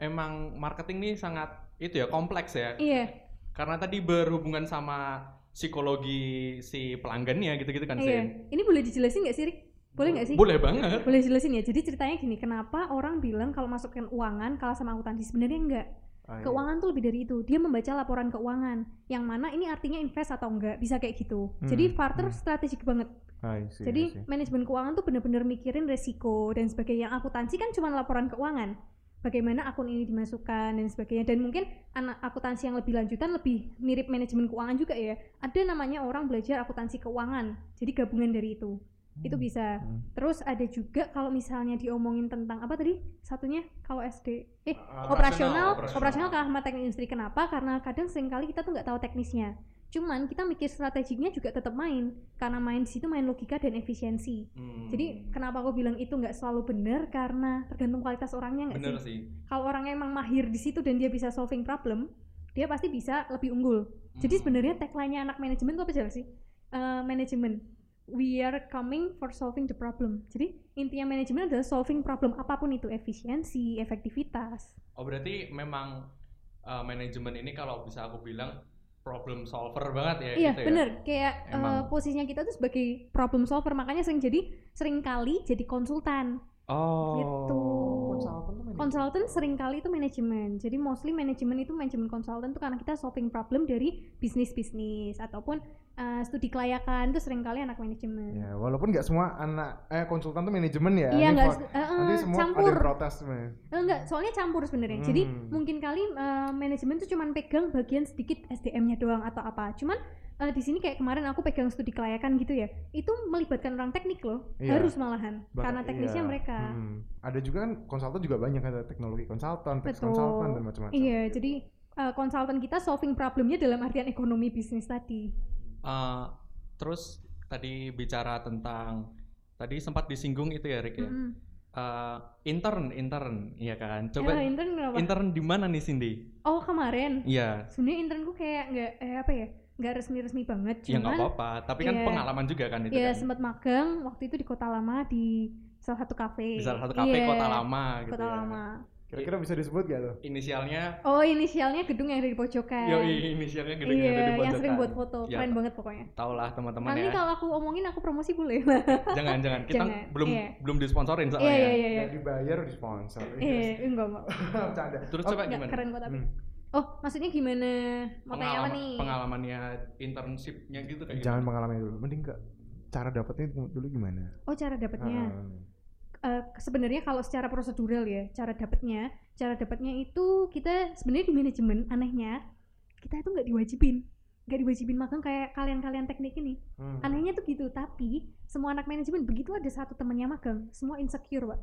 B: emang marketing nih sangat itu ya kompleks ya.
D: Iya,
B: Karena tadi berhubungan sama psikologi si pelanggannya gitu-gitu kan,
D: iya.
B: Sin.
D: Ini boleh dijelasin nggak sih, Rik? Boleh nggak sih?
B: Boleh banget.
D: Boleh jelasin ya. Jadi ceritanya gini, kenapa orang bilang kalau masukin keuangan kalah sama akuntansi? Sebenarnya enggak.
C: Ah, iya.
D: Keuangan tuh lebih dari itu. Dia membaca laporan keuangan, yang mana ini artinya invest atau enggak, bisa kayak gitu.
C: Hmm,
D: Jadi Farter
C: hmm.
D: strategik banget.
C: Ah, I see,
D: Jadi
C: I see.
D: manajemen keuangan tuh bener-bener mikirin resiko dan sebagainya. Yang akuntansi kan cuma laporan keuangan. Bagaimana akun ini dimasukkan dan sebagainya. Dan mungkin anak akuntansi yang lebih lanjutan lebih mirip manajemen keuangan juga ya. Ada namanya orang belajar akuntansi keuangan. Jadi gabungan dari itu. Itu
C: Hmm.
D: bisa.
C: Hmm.
D: Terus ada juga kalau misalnya diomongin tentang apa tadi? Satunya kalau SD eh
C: Ah,
B: operasional,
D: operasional, operasional kan? kalah sama teknik industri. Kenapa? Karena kadang seringkali kita tuh nggak tahu teknisnya. Cuman kita mikir strateginya juga tetap main karena main di situ main logika dan efisiensi.
B: Hmm.
D: Jadi kenapa aku bilang itu nggak selalu benar karena tergantung kualitas orangnya nggak
B: bener
D: sih?
B: sih.
D: Kalau orangnya emang mahir di situ dan dia bisa solving problem, dia pasti bisa lebih unggul. Jadi
B: Hmm.
D: sebenarnya tagline-nya anak manajemen itu apa Jal, sih? Eh, manajemen. We are coming for solving the problem. Jadi intinya manajemen adalah solving problem apapun itu, efisiensi, efektivitas.
B: Oh berarti memang uh, manajemen ini kalau bisa aku bilang problem solver banget ya
D: Iya,
B: gitu ya.
D: bener. Kayak eh,
B: Emang.
D: posisinya kita tuh sebagai problem solver, makanya sering jadi sering kali jadi konsultan.
B: Oh.
D: Gitu.
C: Konsultan tuh manajemen.
D: Konsultan sering kali itu manajemen. Jadi mostly manajemen itu manajemen konsultan tuh karena kita solving problem dari bisnis-bisnis ataupun eh, studi kelayakan itu sering kali anak manajemen.
C: Ya, walaupun nggak semua anak eh konsultan tuh manajemen ya.
D: Iya
C: Ini
D: nggak
C: for-
D: se- eh, eh,
C: Nanti semua
D: campur.
C: ada protes sebenarnya.
D: Eh, enggak, soalnya campur sebenarnya. Jadi
C: Hmm.
D: mungkin kali eh, manajemen tuh cuman pegang bagian sedikit SDM-nya doang atau apa. Cuman eh, di sini kayak kemarin aku pegang studi kelayakan gitu ya itu melibatkan orang teknik loh
C: Iya.
D: harus malahan
C: Bahkan-
D: karena teknisnya
C: iya.
D: mereka
C: Hmm. Ada juga kan konsultan juga banyak ada teknologi konsultan, teks
D: Betul.
C: konsultan dan macam-macam.
D: iya jadi eh, konsultan kita solving problemnya dalam artian ekonomi bisnis tadi
B: Eh, terus tadi bicara tentang tadi sempat disinggung itu ya Rick ya.
D: Mm-mm.
B: Eh, intern, intern, iya kan.
D: Ah,
B: Coba
D: intern kenapa?
B: intern di mana nih Cindy?
D: oh kemarin
B: Iya.
D: sebenarnya internku kayak nggak eh, apa ya nggak resmi-resmi banget
B: Ya nggak
D: cuman
B: apa-apa, tapi kan
D: iya.
B: pengalaman juga kan itu
D: ya
B: kan.
D: sempat magang waktu itu di kota lama di salah satu kafe
B: Di salah satu kafe
D: Iya,
B: kota lama gitu
D: kota
B: ya.
D: lama
C: Kira-kira bisa disebut gak tuh?
B: Inisialnya
D: oh inisialnya gedung yang ada di pojokan
B: Yoi, inisialnya gede
D: Eh, iya,
B: gede
D: yang sering buat foto,
B: Iya,
D: keren
B: Pak.
D: banget pokoknya.
B: Tau lah teman-teman
D: Nanti
B: ya.
D: kalau aku omongin aku promosi boleh lah.
B: Jangan jangan kita
D: Jangan,
B: belum
D: iya.
B: belum disponsorin soalnya.
D: Iya
B: ya.
D: iya iya. iya.
C: Nggak dibayar, di sponsor.
D: Iya, enggak enggak.
C: Bercanda.
B: Terus
C: Oh,
B: coba
D: Enggak
B: gimana?
D: keren kok tapi.
C: hmm.
D: Oh, maksudnya gimana? Mau tanya apa
B: Pengalaman,
D: nih?
B: pengalamannya internshipnya gitu kayak
C: Jangan
B: gitu.
C: pengalaman dulu. Mending ke cara dapetnya dulu gimana?
D: Oh, cara dapatnya.
B: Hmm.
C: Ah.
D: Eh, sebenarnya kalau secara prosedural ya, cara dapatnya, cara dapatnya itu kita sebenarnya di manajemen anehnya kita itu nggak diwajibin nggak diwajibin magang kayak kalian-kalian teknik ini
C: Hmm.
D: anehnya tuh gitu tapi semua anak manajemen begitu ada satu temennya magang semua insecure pak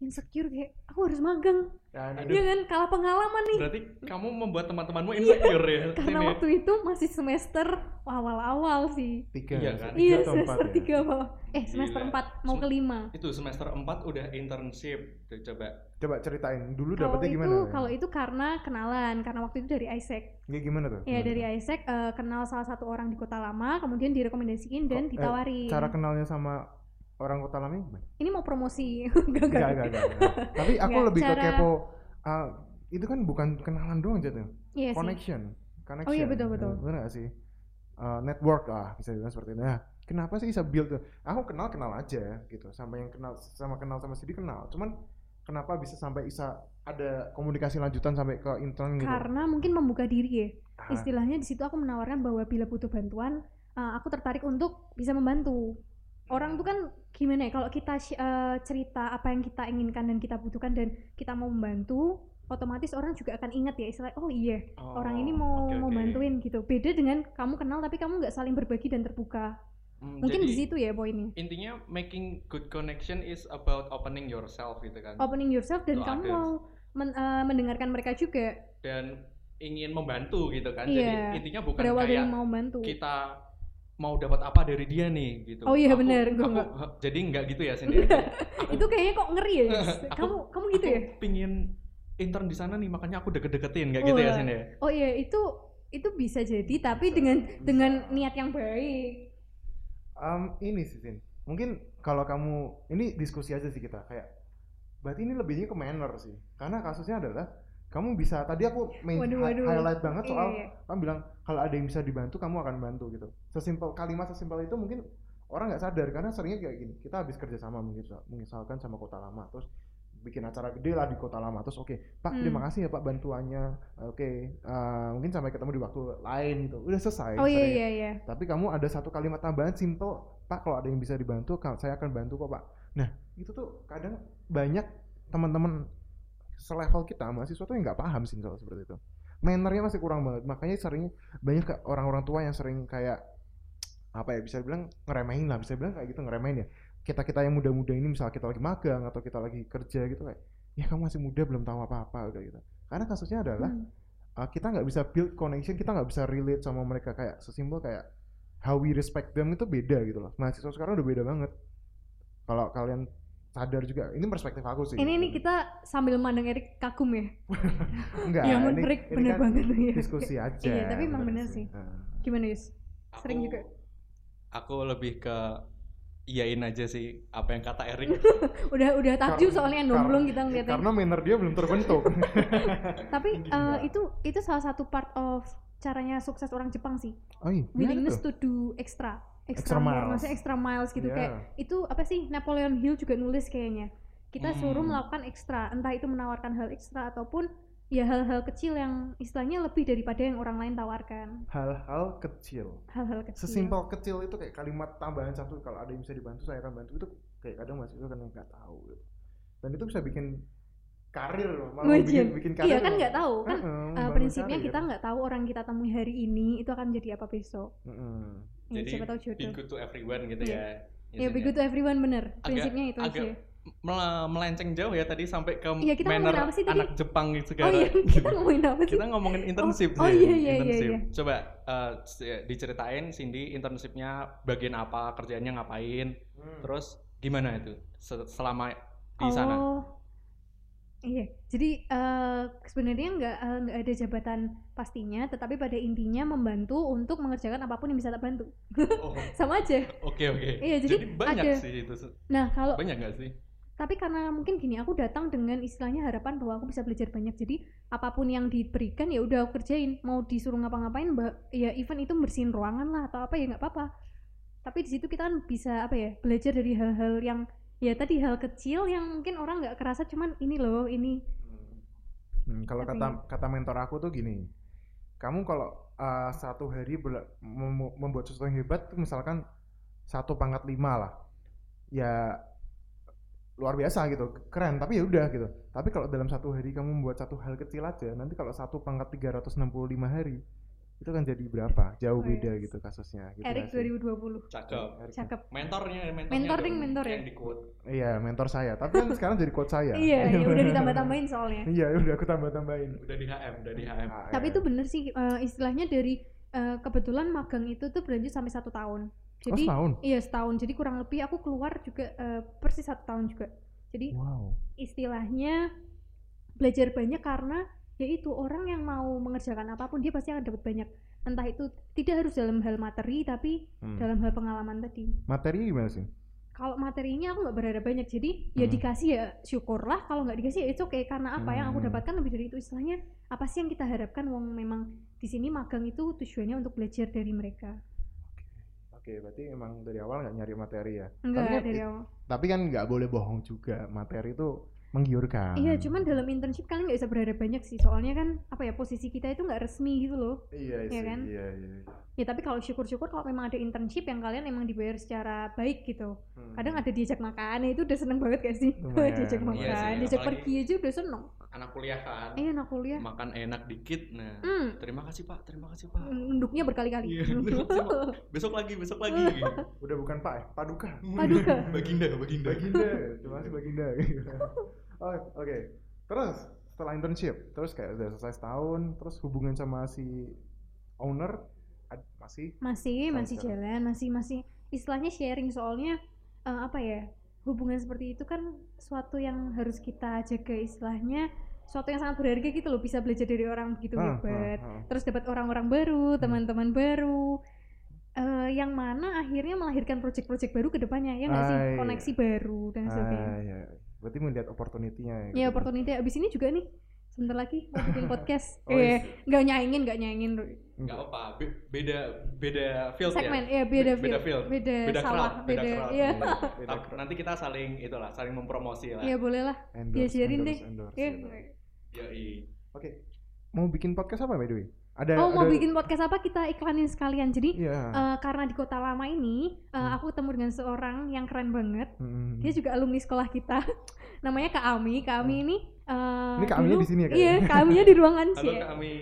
D: insecure kayak aku harus magang
C: Dan
B: gitu. Aduh.
D: Iya kan kalah pengalaman nih
B: Berarti kamu membuat teman-temanmu insecure ya.
D: karena
B: Cindy?
D: waktu itu masih semester awal-awal sih.
C: tiga,
B: Iya kan?
C: tiga
D: Iya
C: atau empat
D: semester
C: ya?
D: tiga apa? Eh semester
B: Gila.
D: empat mau
B: Sem-
D: kelima.
B: itu semester 4 udah internship tuh coba
C: Coba ceritain dulu
D: Kalau
C: dapetnya
D: itu
C: gimana?
D: kalau itu karena kenalan karena waktu itu dari Isaac.
C: Ya gimana tuh?
D: Ya
C: Gimana
D: dari
C: tuh?
D: Isaac eh, kenal salah satu orang di Kota Lama kemudian direkomendasiin
C: Kok-
D: dan
C: eh,
D: ditawarin.
C: Cara kenalnya sama orang kota lama gimana?
D: Ini mau promosi. Enggak
C: Enggak,
D: enggak.
C: enggak, enggak. enggak. Tapi aku
D: Enggak,
C: lebih
D: cara-
C: ke kepo. ah, itu kan bukan kenalan doang ya? jatuh.
D: Iya sih.
C: Connection. Connection.
D: Oh iya, betul, betul.
C: Benar nggak sih? Ah, network lah bisa dibilang seperti itu. Nah, kenapa sih bisa build tuh? Aku kenal kenal aja gitu. Sama yang kenal sama kenal sama Sidi kenal. Cuman kenapa bisa sampai bisa ada komunikasi lanjutan sampai ke intern gitu?
D: Karena mungkin membuka diri ya.
C: Ah,
D: Istilahnya di situ aku menawarkan bahwa bila butuh bantuan eh, aku tertarik untuk bisa membantu. orang tuh kan gimana ya kalau kita sh- eh, cerita apa yang kita inginkan dan kita butuhkan dan kita mau membantu otomatis orang juga akan ingat ya istilah oh iya
B: Oh,
D: orang ini mau
B: oke,
D: mau
B: oke.
D: bantuin gitu beda dengan kamu kenal tapi kamu nggak saling berbagi dan terbuka
B: Hmm,
D: mungkin
B: jadi
D: di situ ya poinnya
B: intinya making good connection is about opening yourself gitu kan
D: opening yourself dan
B: Itu
D: kamu
B: ada.
D: mau men- eh, mendengarkan mereka juga
B: dan ingin membantu gitu kan
D: Iya.
B: jadi intinya bukan
D: berawal dari
B: kayak gitu.
D: mau membantu
B: kita mau dapat apa dari dia nih gitu
D: Oh iya,
B: Aku-
D: bener, gua
B: aku-
D: nggak.
B: he- jadi nggak gitu ya Cindy
D: itu kayaknya kok ngeri ya Yus?
B: Aku-
D: kamu kamu gitu
B: aku
D: ya
B: pingin intern di sana nih makanya aku deket-deketin nggak gitu ya
D: Wah.
B: Cindy
D: oh iya itu itu bisa jadi tapi dengan dengan niat yang baik
C: Em, ini sih Sin. Mungkin kalau kamu ini diskusi aja sih kita kayak berarti ini lebihnya ke manner sih. Karena kasusnya adalah kamu bisa tadi aku main
D: Waduh,
C: hi-
D: waduh.
C: highlight banget
D: Iya,
C: soal
D: iya.
C: kamu bilang kalau ada yang bisa dibantu kamu akan bantu gitu. Sesimpel kalimat sesimpel itu mungkin orang nggak sadar karena seringnya kayak gini. Kita habis kerja sama mungkin so- misalkan sama kota lama terus bikin acara gede lah di kota lama terus oke Pak
D: Hmm.
C: terima kasih ya Pak bantuannya oke eh, mungkin sampai ketemu di waktu lain gitu udah selesai
D: oh iya
C: sering
D: iya iya
C: tapi kamu ada satu kalimat tambahan simple pak kalau ada yang bisa dibantu ka- saya akan bantu kok pak nah itu tuh kadang banyak teman-teman selevel kita mahasiswa tuh yang nggak paham sih soal seperti itu mannernya masih kurang banget makanya sering banyak ke- orang-orang tua yang sering kayak apa ya bisa bilang ngeremehin lah bisa bilang kayak gitu ngeremehin ya kita kita yang muda-muda ini misal kita lagi magang atau kita lagi kerja gitu kayak ya kamu masih muda belum tahu apa-apa udah gitu karena kasusnya adalah
D: Hmm.
C: uh, kita nggak bisa build connection kita nggak bisa relate sama mereka kayak sesimpel kayak how we respect them itu beda gitu loh mahasiswa sekarang udah beda banget kalau kalian sadar juga ini perspektif aku sih
D: Ini ini kita sambil mandang Erik kagum ya.
C: enggak
D: ya
C: ini-
D: menarik
C: ini
D: bener
C: kan
D: banget tuh ya.
C: diskusi aja
D: Iya, tapi emang bener
C: Nah,
D: Gimana Yus?
B: Aku-
D: Sering juga.
B: aku lebih ke iyain aja sih apa yang kata Erik
D: Udah udah takjub
C: Karena-
D: soalnya nomblong kita ngeliatnya.
C: karena manner dia belum terbentuk
D: Tapi
C: Gila.
D: eh, itu itu salah satu part of caranya sukses orang Jepang sih.
C: oh iya gimana
D: Willingness
C: tuh?
D: to do extra
C: Extra
D: extra, more,
C: miles.
D: maksudnya extra miles gitu
C: Iya.
D: kayak itu apa sih Napoleon Hill juga nulis kayaknya. Kita suruh
B: Hmm.
D: melakukan ekstra, entah itu menawarkan hal ekstra ataupun ya hal-hal kecil yang istilahnya lebih daripada yang orang lain tawarkan.
C: hal-hal kecil
D: Hal-hal kecil.
C: sesimpel kecil itu kayak kalimat tambahan satu kalau ada yang bisa dibantu saya akan bantu itu kayak kadang mahasiswa kan nggak tahu gitu. dan itu bisa bikin karir loh, malah
D: Wajib.
C: bikin bikin karir
D: Iya kan nggak tahu kan
C: gitu Heeh,
D: Uh,
C: membangun
D: prinsipnya
C: mencari,
D: kita
C: kan?
D: nggak tahu orang kita temui hari ini itu akan jadi apa besok.
C: Mm-mm.
D: Ya,
B: Jadi
D: siapa tahu
B: be
D: jodoh.
B: good to everyone gitu
D: Iya.
B: ya.
D: Ya be good to everyone bener.
B: Agak-
D: Prinsipnya itu
B: agak
D: aja.
B: Mel- melenceng jauh ya tadi sampai ke
D: Iya, kita
B: manner
D: ngomongin apa sih tadi?
B: anak Jepang
D: Oh
B: gitu segala.
D: iya, kita ngomongin apa sih?
B: kita ngomongin internship
D: oh iya,
B: sih,
D: iya, iya,
B: internship.
D: iya.
B: Coba eh, c- diceritain Cindy internshipnya bagian apa, kerjanya ngapain, terus gimana itu se- selama di sana?
D: Oh. Iya, jadi eh, sebenarnya nggak eh, nggak ada jabatan pastinya, tetapi pada intinya membantu untuk mengerjakan apapun yang bisa tak bantu.
B: Oh,
D: Sama aja.
B: Oke oke.
D: Iya, jadi
B: banyak
D: ada-
B: sih itu.
D: Nah kalau
B: Banyak nggak sih?
D: tapi karena mungkin gini aku datang dengan istilahnya harapan bahwa aku bisa belajar banyak jadi apapun yang diberikan ya udah aku kerjain mau disuruh ngapa-ngapain bah- ya even itu bersihin ruangan lah atau apa ya nggak apa-apa tapi di situ kita kan bisa apa ya belajar dari hal-hal yang ya tadi hal kecil yang mungkin orang nggak kerasa cuman ini loh ini
C: Hmm, kalau
D: Tapi-
C: kata kata mentor aku tuh gini, kamu kalau uh, satu hari bela- mem- membuat sesuatu yang hebat, tuh misalkan satu pangkat lima lah, ya luar biasa gitu, keren. Tapi ya udah gitu. Tapi kalau dalam satu hari kamu membuat satu hal kecil aja, nanti kalau satu pangkat 365 hari itu kan jadi berapa? Jauh
D: Oh,
C: beda
D: yes.
C: gitu kasusnya. Gitu
D: Eric
C: nggak sih?
D: 2020
B: Cakep.
C: Eric.
D: cakep
B: Mentornya, mentornya
D: Mentoring,
B: dong,
D: mentor ya?
B: Yang di quote.
C: Iya, mentor saya. Tapi kan sekarang jadi coach saya.
D: iya ya udah ditambah-tambahin soalnya
C: Iya, udah aku tambah-tambahin.
B: Udah di HM, udah di HM.
D: tapi itu bener sih eh, istilahnya dari eh, kebetulan magang itu tuh berlanjut sampai satu tahun
C: Oh,
D: jadi
C: setahun.
D: Iya setahun, jadi kurang lebih aku keluar juga eh, persis satu tahun juga. Jadi
C: Wow.
D: istilahnya belajar banyak karena yaitu orang yang mau mengerjakan apapun dia pasti akan dapat banyak. Entah itu tidak harus dalam hal materi tapi
C: Hmm.
D: dalam hal pengalaman tadi.
C: Materinya gimana sih?
D: Kalau materinya aku nggak berharap banyak, jadi ya
C: Hmm.
D: dikasih ya syukurlah. Kalau nggak dikasih ya itu oke karena apa yang aku
C: Hmm.
D: dapatkan lebih dari itu istilahnya apa sih yang kita harapkan? Wong memang di sini magang itu tujuannya untuk belajar dari mereka.
C: Oke, berarti emang dari awal nggak nyari materi ya. Tapi
D: Enggak
C: kan
D: dari
C: i-
D: awal.
C: Tapi kan nggak boleh bohong juga, materi itu menggiurkan.
D: Iya, cuman dalam internship kalian nggak bisa berharap banyak sih, soalnya kan apa ya posisi kita itu nggak resmi gitu loh.
C: Iya,
D: Iya
C: sih,
D: kan?
C: Iya, iya.
D: Ya tapi kalau syukur-syukur kalau memang ada internship yang kalian emang dibayar secara baik gitu.
C: Hmm.
D: Kadang ada diajak makan, ya itu udah seneng banget gak sih?
C: Lumayan,
D: diajak
C: lumayan.
D: makan,
B: Iya sih,
D: diajak
B: apalagi-
D: pergi aja udah seneng.
B: Anak kuliah kan.
D: Eh, anak kuliah.
B: Makan enak dikit. Nah,
D: Hmm,
B: terima kasih Pak, terima kasih Pak.
D: nunduknya berkali-kali. Hmm.
B: Iya, terima kasih, Pak. besok lagi, besok lagi.
C: Udah bukan Pak ya, Paduka.
D: Paduka.
B: Baginda, baginda.
C: Baginda, terima kasih Baginda. oh, Oke, terus setelah internship, terus kayak udah selesai setahun, terus hubungan sama si owner ad- masih
D: masih,
C: Sampai
D: masih
C: sekarang.
D: jalan, masih masih istilahnya sharing soalnya eh, apa ya? Hubungan seperti itu kan suatu yang harus kita jaga istilahnya, suatu yang sangat berharga gitu loh bisa belajar dari orang begitu
C: Ah, ah,
D: hebat.
C: ah.
D: terus dapat orang-orang baru, teman-teman baru, eh, yang mana akhirnya melahirkan project-project baru ke depannya, ya nggak sih?
C: Ah, iya.
D: Koneksi baru dan sebagainya.
C: Ah, iya. Berarti melihat opportunity-nya
D: ya,
C: gitu.
D: opportunity abis ini juga nih, sebentar lagi mau bikin podcast.
C: Oh,
D: Eh, nggak nyaingin, nggak nyaingin.
C: Hmm.
B: Enggak
C: Iya,
B: apa, be- beda beda field
D: Segmen,
B: ya.
D: ya beda
B: Be- beda
D: field,
B: field.
D: beda,
B: Beda
D: sawah,
B: crowd,
D: beda,
B: beda crowd.
D: ya,
C: Iya, beda
B: Tapi nanti kita saling itulah, saling mempromosi lah.
D: ya boleh lah.
C: endorse,
D: Diajarin
C: endorse,
D: deh.
C: endorse,
D: Ya.
C: gitu.
B: Yoi.
C: Oke. Mau bikin podcast apa by the way? Ada
D: Oh mau
C: ada-
D: bikin podcast apa? Kita iklanin sekalian. Jadi
C: Iya.
D: eh, karena di kota lama ini, eh,
C: Hmm.
D: aku ketemu dengan seorang yang keren banget.
C: Hmm. Hmm.
D: dia juga alumni sekolah kita namanya Kak Ami Kak Ami ini eh,
C: Ini Kak Aminya
D: dulu-
C: di sini ya, Kak,
D: iya
C: ya?
D: Kak Aminya di ruangan sih
B: Halo
D: ya.
B: kami.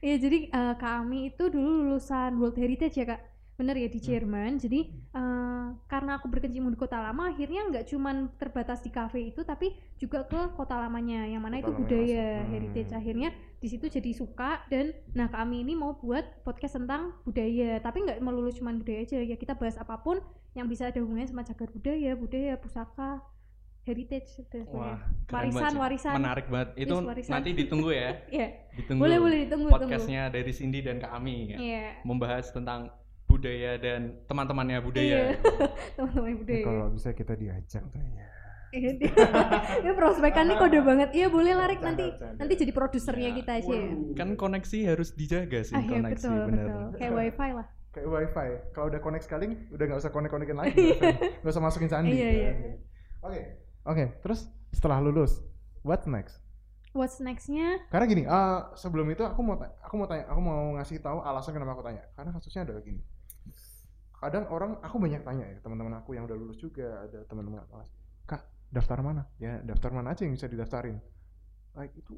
D: iya jadi eh, Kak Ami itu dulu lulusan World Heritage ya Kak bener ya di
C: Hmm.
D: Jerman jadi eh, karena aku berkecimpung di kota lama akhirnya nggak cuman terbatas di kafe itu tapi juga ke kota lamanya yang mana
C: Kota
D: itu
C: lamanya
D: budaya
C: langsung. Hmm.
D: heritage akhirnya di situ jadi suka dan nah kami ini mau buat podcast tentang budaya tapi nggak melulu cuman budaya aja ya kita bahas apapun yang bisa ada hubungannya sama cagar budaya budaya pusaka heritage dan
B: Wah,
D: sebagainya
B: keren
D: Warisan,
B: banget sih.
D: warisan.
B: Menarik banget. Itu
D: Yes, warisan.
B: nanti ditunggu ya.
D: Iya,
B: Ditunggu.
D: boleh boleh ditunggu tunggu
B: Podcastnya dari Cindy dan kami ya.
D: iya
B: Membahas tentang budaya dan teman-temannya budaya.
D: Iya. teman-teman
C: Ya,
D: budaya
C: kalau bisa kita diajak tuh ya.
D: Iya, dia- Ini prospekannya kode banget. Iya boleh larik
C: Bercanda,
D: nanti
C: bercanda.
D: nanti jadi produsernya
B: Ya,
D: kita aja. ya.
B: Kan koneksi harus dijaga sih
D: Ah iya
B: koneksi
D: betul
B: bener.
D: betul. Kayak wifi lah.
C: kayak wifi. Kalau udah connect sekali, udah nggak usah connect connectin lagi. nggak usah- Nggak usah masukin candi.
D: Iya, iya.
C: Oke. Oke. Terus setelah lulus, what next?
D: What's nextnya?
C: Karena gini, eh, sebelum itu aku mau ta- aku mau tanya, aku mau ngasih tahu alasan kenapa aku tanya. Karena kasusnya adalah gini. Kadang orang aku banyak tanya ya, teman-teman aku yang udah lulus juga, ada teman-teman aku, Kak, daftar mana? Ya, daftar mana aja yang bisa didaftarin. Like itu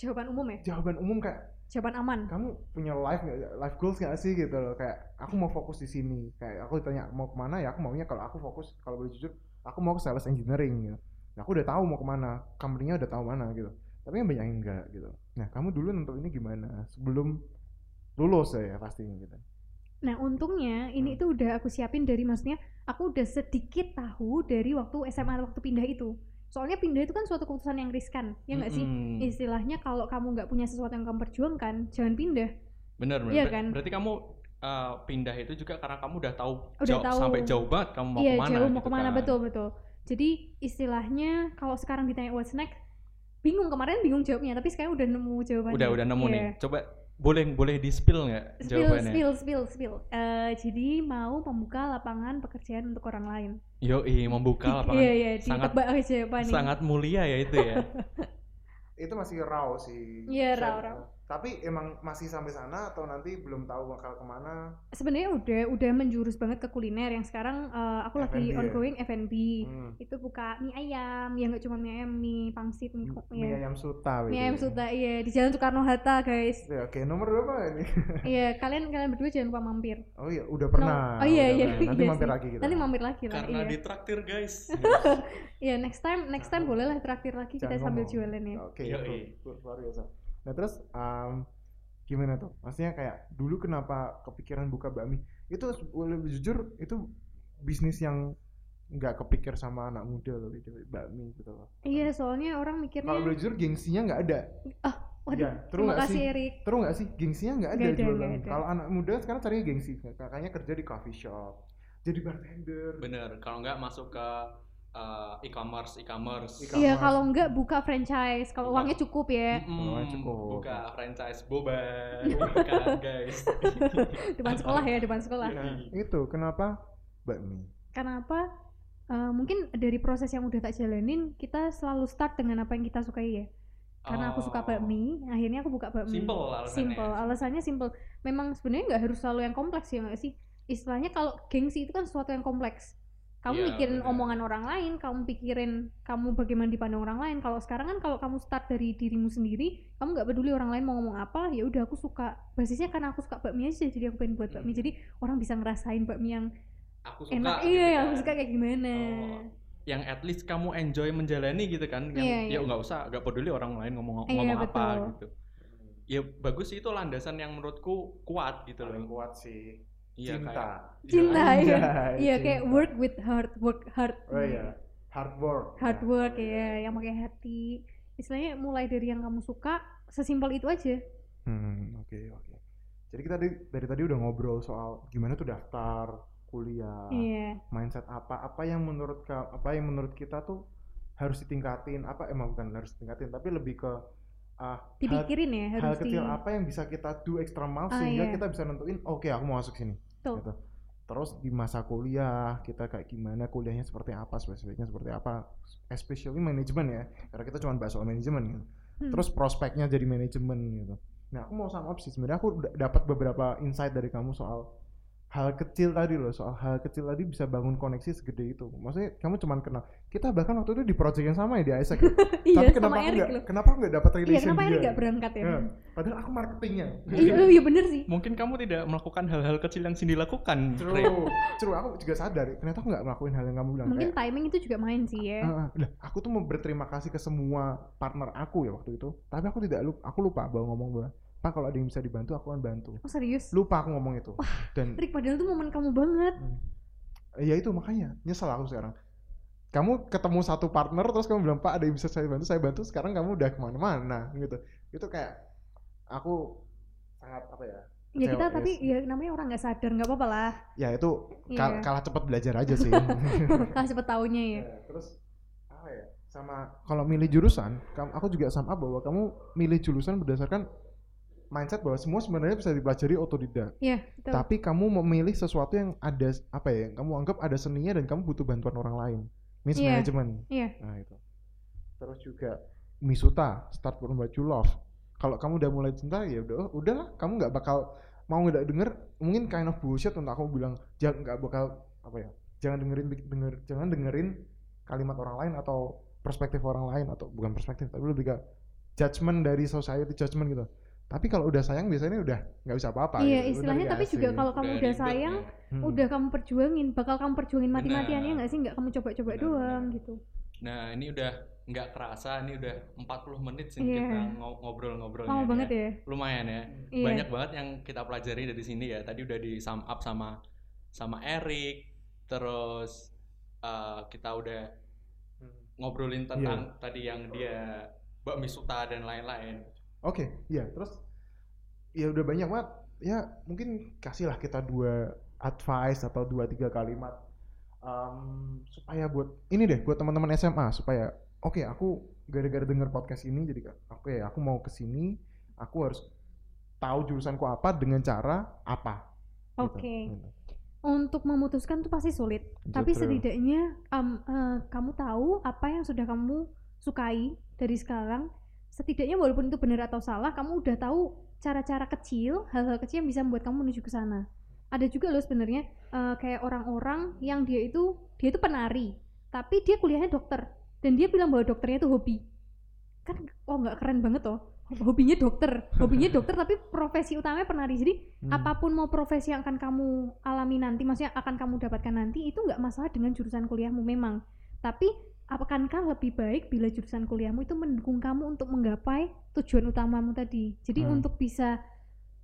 D: jawaban umum ya
C: jawaban umum kayak
D: jawaban aman
C: kamu punya life nggak life goals nggak sih gitu loh kayak aku mau fokus di sini kayak aku ditanya mau kemana ya aku maunya kalau aku fokus kalau boleh jujur aku mau ke sales engineering gitu nah, aku udah tahu mau kemana company-nya udah tahu mana gitu tapi yang banyak yang enggak gitu nah kamu dulu nentuinnya gimana sebelum lulus ya pastinya gitu
D: Nah untungnya ini
C: Hmm.
D: itu udah aku siapin dari maksudnya aku udah sedikit tahu dari waktu SMA waktu pindah itu. Soalnya pindah itu kan suatu keputusan yang riskan, ya nggak sih?
B: Mm-mm.
D: Istilahnya kalau kamu nggak punya sesuatu yang kamu perjuangkan, jangan pindah.
B: Bener, bener.
D: Iya
B: Ber-
D: kan?
B: Berarti kamu uh, pindah itu juga karena kamu udah tahu
D: Udah
B: jauh-
D: tahu.
B: sampai jauh banget kamu mau
D: Iya
B: kemana.
D: jauh mau
B: gitu
D: kemana
B: kan.
D: betul betul. Jadi istilahnya kalau sekarang ditanya what's next, bingung kemarin bingung jawabnya, tapi sekarang udah nemu jawabannya.
B: Udah udah nemu
D: Iya.
B: nih. Coba boleh boleh di spill
D: Spill,
B: nggak jawabannya?
D: spill, spill, spill. Eh, jadi mau membuka lapangan pekerjaan untuk orang lain.
B: Yo, membuka lapangan.
D: Iya iya,
B: sangat-
D: ditebak aja jawabannya.
B: Sangat mulia ya itu ya.
C: itu masih raw sih Saya-
D: Iya, raw, raw.
C: tapi emang masih sampai sana atau nanti belum tahu bakal kemana
D: sebenarnya udah udah menjurus banget ke kuliner yang sekarang eh, aku
C: F&B
D: lagi
C: ya?
D: ongoing F&B
C: hmm.
D: itu buka mie ayam ya nggak cuma mie ayam mie pangsit mie, kok-
C: Hmm, mie
D: ya.
C: ayam Oh, suta
D: mie ayam suta iya di jalan Soekarno Hatta guys
C: ya, oke nomor berapa ini
D: iya kalian kalian berdua jangan lupa mampir
C: oh iya udah pernah
D: oh iya
C: udah
D: iya
C: pernah. nanti
D: iya
C: mampir
D: sih.
C: lagi kita
D: nanti mampir lagi lah
B: karena
D: iya
B: ditraktir guys.
D: Iya, next time next time boleh lah traktir lagi kita
C: Jangan
D: sambil
C: ngomong.
D: jualan ya
C: Oke,
B: Yoi.
C: cool, cool, luar biasa. Nah terus um, gimana tuh? Maksudnya kayak dulu kenapa kepikiran buka bakmi? Itu boleh jujur itu bisnis yang nggak kepikir sama anak muda loh itu bakmi gitu loh.
D: iya soalnya orang mikirnya
C: Kalau boleh jujur gengsinya nggak ada.
D: Ah, waduh,
C: Iya, terus
D: terima
C: nggak
D: kasih
C: sih?
D: Erik
C: Terus nggak sih gengsinya nggak ada
D: Nggak ada,
C: jual
D: nggak
C: bakmi.
D: ada.
C: Kalau anak muda sekarang carinya gengsi. Kakaknya kerja di coffee shop, jadi bartender.
B: Bener. Kalau nggak masuk ke uh, e-commerce, e-commerce.
C: E-commerce.
D: iya
C: Kamar.
D: kalau enggak buka franchise
C: Iya.
D: kalau
B: Buka.
D: uangnya cukup ya
B: Mm-mm,
C: Oh, cukup.
B: Buka franchise boba, bukan guys.
C: Iya.
B: Iya.
D: depan sekolah ya depan sekolah
B: Yoi.
C: Itu kenapa bakmi?
D: kenapa eh, mungkin dari proses yang udah tak jalanin kita selalu start dengan apa yang kita sukai ya karena aku suka
B: Oh.
D: bakmi akhirnya aku buka bakmi
B: Simple alasannya.
D: simple alasannya simple memang sebenarnya nggak harus selalu yang kompleks ya nggak sih istilahnya kalau gengsi itu kan sesuatu yang kompleks kamu
B: Iya,
D: mikirin
B: benar.
D: omongan orang lain kamu pikirin kamu bagaimana dipandang orang lain kalau sekarang kan kalau kamu start dari dirimu sendiri kamu nggak peduli orang lain mau ngomong apa ya udah aku suka basisnya karena aku suka bakmi aja jadi aku pengen buat bakmi
B: Hmm.
D: jadi orang bisa ngerasain bakmi yang
B: Aku suka.
D: enak
B: gitu
D: iya yang
B: kan.
D: suka kayak gimana
B: Oh, yang at least kamu enjoy menjalani gitu kan yang
D: Iya, iya.
B: ya nggak usah nggak peduli orang lain ngomong
D: Iya,
B: ngomong apa
D: betul.
B: gitu ya bagus sih itu landasan yang menurutku kuat gitu
C: Paling
B: loh
C: kuat sih
B: Iya, kayak-
C: cinta.
D: cinta iya
C: Anjay,
D: iya kayak
C: cinta.
D: work with heart work hard
C: Oh
B: Hmm.
C: iya, hard work.
D: hard
C: Ya.
D: work ya yang pakai hati istilahnya mulai dari yang kamu suka sesimpel itu aja
C: Hmm, oke oke. Jadi kita dari, dari tadi udah ngobrol soal gimana tuh daftar kuliah,
D: iya
C: mindset apa, apa yang menurut ka- apa yang menurut kita tuh harus ditingkatin, apa emang bukan harus ditingkatin, tapi lebih ke ah, hal,
D: dipikirin ya
C: hal
D: harus di
C: kecil apa yang bisa kita do extra mile
D: Ah,
C: sehingga
D: iya.
C: kita bisa nentuin, oke aku mau masuk sini.
D: Betul.
C: Gitu. Terus di masa kuliah kita kayak gimana kuliahnya seperti apa, spesifiknya seperti apa, especially manajemen ya, karena kita cuma bahas soal manajemen gitu
D: Hmm.
C: terus prospeknya jadi manajemen gitu. Nah, aku mau sama up sih sebenarnya aku d- dapat beberapa insight dari kamu soal hal kecil tadi loh, soal hal kecil tadi bisa bangun koneksi segede itu. Maksudnya kamu cuman kenal. Kita bahkan waktu itu di project yang sama ya di Isaac. ya.
D: iya
C: Tapi
D: sama
C: kenapa aku
D: Erik
C: nggak
D: loh
C: kenapa aku nggak dapat
D: iya
C: relation
D: kenapa
C: dia?
D: Erik nggak berangkat ya
C: Ya, padahal aku marketingnya.
D: iya lu iya bener sih
B: mungkin kamu tidak melakukan hal-hal kecil yang Cindy lakukan Re.
C: True. True, aku juga sadar ternyata aku nggak ngelakuin hal yang kamu bilang.
D: mungkin
C: Kayak,
D: timing itu juga main sih ya
C: "Ah, ah, lah, aku tuh mau berterima kasih ke semua partner aku ya waktu itu. Tapi aku tidak lupa, aku lupa bahwa ngomong bahwa Pak kalau ada yang bisa dibantu aku akan bantu.
D: oh serius
C: lupa aku ngomong itu dan
D: Erik padahal tuh momen kamu banget
C: eh, ya itu makanya nyesel aku sekarang kamu ketemu satu partner terus kamu bilang pak ada yang bisa saya bantu saya bantu sekarang kamu udah kemana-mana gitu itu kayak aku sangat apa ya
D: ya kita
C: Cewek,
D: tapi
C: yes.
D: ya namanya orang nggak sadar nggak apa-apa lah
C: ya itu kal-
D: iya
C: kalah cepat belajar aja sih
D: kalah cepet taunya ya
C: Ya, terus apa ya sama kalau milih jurusan kamu aku juga sama bahwa kamu milih jurusan berdasarkan mindset bahwa semua sebenarnya bisa dipelajari otodidak
D: iya betul.
C: tapi kamu memilih sesuatu yang ada apa ya yang kamu anggap ada seninya dan kamu butuh bantuan orang lain miss
D: Iya,
C: management
D: iya.
C: nah itu terus juga misuta start from what you love kalau kamu udah mulai cinta ya udah oh, udahlah kamu nggak bakal mau nggak denger mungkin kind of bullshit untuk aku bilang jangan nggak bakal apa ya jangan dengerin denger jangan dengerin kalimat orang lain atau perspektif orang lain atau bukan perspektif tapi lebih ke judgement dari society judgement gitu tapi kalau udah sayang biasanya udah nggak bisa apa-apa
D: iya
C: gitu. Bener
D: istilahnya
C: nggak
D: tapi juga
C: sih?
D: kalau kamu udah
B: ribet
D: sayang
B: ya.
C: Hmm.
D: udah kamu perjuangin bakal kamu perjuangin mati-matian ya
B: Benar.
D: nggak sih nggak kamu coba-coba
B: Benar,
D: doang
B: benar.
D: gitu
B: Nah, ini udah nggak kerasa, ini udah 40 menit sih
D: Iya.
B: kita ngo- ngobrol-ngobrol.
D: lama banget ya
B: Lumayan ya.
D: iya
B: Banyak banget yang kita pelajari dari sini ya. Tadi udah di sum up sama sama Erik, terus eh, kita udah
C: Hmm.
D: Iya.
B: ngobrolin tentang tadi yang dia Mbak Misuta dan lain-lain.
C: oke iya terus ya udah banyak banget ya mungkin kasihlah kita dua advice atau dua tiga kalimat em, supaya buat ini deh buat teman-teman SMA supaya oke aku gara-gara denger podcast ini jadi oke aku mau kesini aku harus tahu jurusanku apa dengan cara apa gitu.
D: oke
C: Gitu.
D: untuk memutuskan tuh pasti sulit tapi
C: Gitu.
D: setidaknya am- eh, kamu tahu apa yang sudah kamu sukai dari sekarang setidaknya walaupun itu benar atau salah kamu udah tahu cara-cara kecil hal-hal kecil yang bisa membuat kamu menuju ke sana ada juga loh sebenarnya eh, kayak orang-orang yang dia itu dia itu penari tapi dia kuliahnya dokter dan dia bilang bahwa dokternya itu hobi kan oh nggak keren banget toh hobinya dokter hobinya dokter tapi profesi utamanya penari jadi
C: Hmm.
D: apapun mau profesi yang akan kamu alami nanti maksudnya akan kamu dapatkan nanti itu nggak masalah dengan jurusan kuliahmu memang tapi akankah lebih baik bila jurusan kuliahmu itu mendukung kamu untuk menggapai tujuan utamamu tadi jadi
C: Hmm.
D: untuk bisa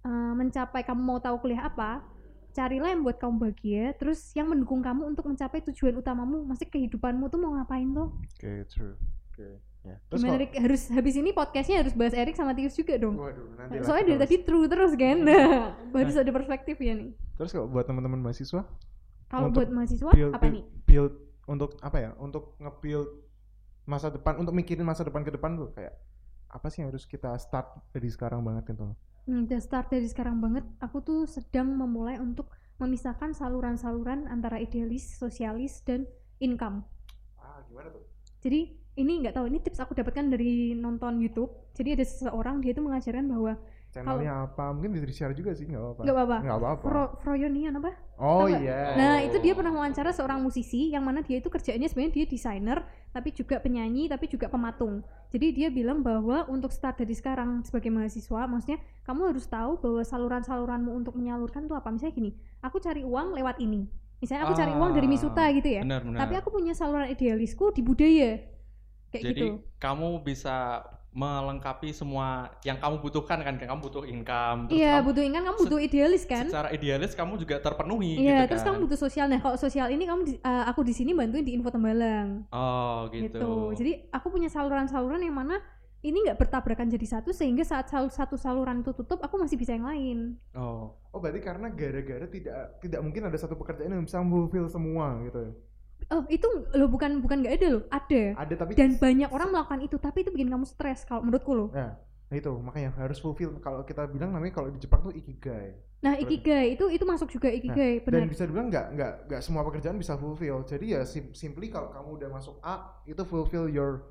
D: eh, mencapai kamu mau tahu kuliah apa carilah yang buat kamu bahagia terus yang mendukung kamu untuk mencapai tujuan utamamu masih kehidupanmu tuh mau ngapain tuh
C: oke true oke ya. terus
D: Gimana,
C: kalau-
D: Rick? harus habis ini podcastnya harus bahas Erik sama Tius juga dong
C: Waduh, nanti lah
D: soalnya dari
C: terus. Iya.
D: tadi true terus kan nah, harus ada perspektif ya nih
C: Terus kalau buat teman-teman mahasiswa,
D: kalau
C: Untuk
D: buat mahasiswa
C: build,
D: apa nih
C: build, build untuk apa ya? Untuk nge-build masa depan, untuk mikirin masa depan ke depan tuh kayak apa sih yang harus kita start dari sekarang banget gitu loh.
D: Hmm, udah start dari sekarang banget. Aku tuh sedang memulai untuk memisahkan saluran-saluran antara idealis, sosialis, dan income.
C: Ah, gimana tuh?
D: Jadi ini nggak tahu ini tips aku dapatkan dari nonton YouTube. Jadi ada seseorang dia itu mengajarkan bahwa
C: Channelnya apa? Mungkin bisa di-share juga sih, nggak apa-apa.
D: nggak apa-apa.
C: Nggak apa-apa.
D: Fro, Froyonian apa?
C: oh
D: nggak-
C: iya.
D: Nah itu dia pernah wawancara seorang musisi yang mana dia itu kerjaannya sebenarnya dia desainer tapi juga penyanyi tapi juga pematung. Jadi dia bilang bahwa untuk start dari sekarang sebagai mahasiswa, maksudnya kamu harus tahu bahwa saluran-saluranmu untuk menyalurkan tuh apa. Misalnya gini, aku cari uang lewat ini. Misalnya aku cari uang dari
B: Ah,
D: Misuta gitu ya.
B: Benar, benar.
D: Tapi aku punya saluran idealisku di budaya. Kayak
B: Jadi
D: gitu.
B: kamu bisa melengkapi semua yang kamu butuhkan kan? Kayak Kamu butuh income, terus
D: Iya,
B: kamu
D: butuh kan kamu butuh idealis kan?
B: secara idealis kamu juga terpenuhi
D: Iya,
B: gitu
D: terus
B: kan?
D: kamu butuh sosial. Nah, kalau sosial ini kamu di- eh, aku di sini bantuin di Info Tembalang.
B: Oh, gitu.
D: gitu. Jadi aku punya saluran-saluran yang mana ini nggak bertabrakan jadi satu sehingga saat sal- satu saluran itu tutup aku masih bisa yang lain.
B: Oh,
C: Oh, berarti karena gara-gara tidak tidak mungkin ada satu pekerjaan yang bisa fulfill semua gitu. ya.
D: Oh itu loh bukan bukan nggak ada loh ada
C: Ada tapi
D: dan banyak orang melakukan itu tapi itu bikin kamu stres kalau menurutku loh.
C: Nah, itu makanya harus fulfill kalau kita bilang namanya kalau di Jepang tuh ikigai.
D: Nah ikigai itu itu masuk juga ikigai benar.
C: dan bisa dibilang nggak nggak nggak semua pekerjaan bisa fulfill jadi ya sim- simply kalau kamu udah masuk A itu fulfill your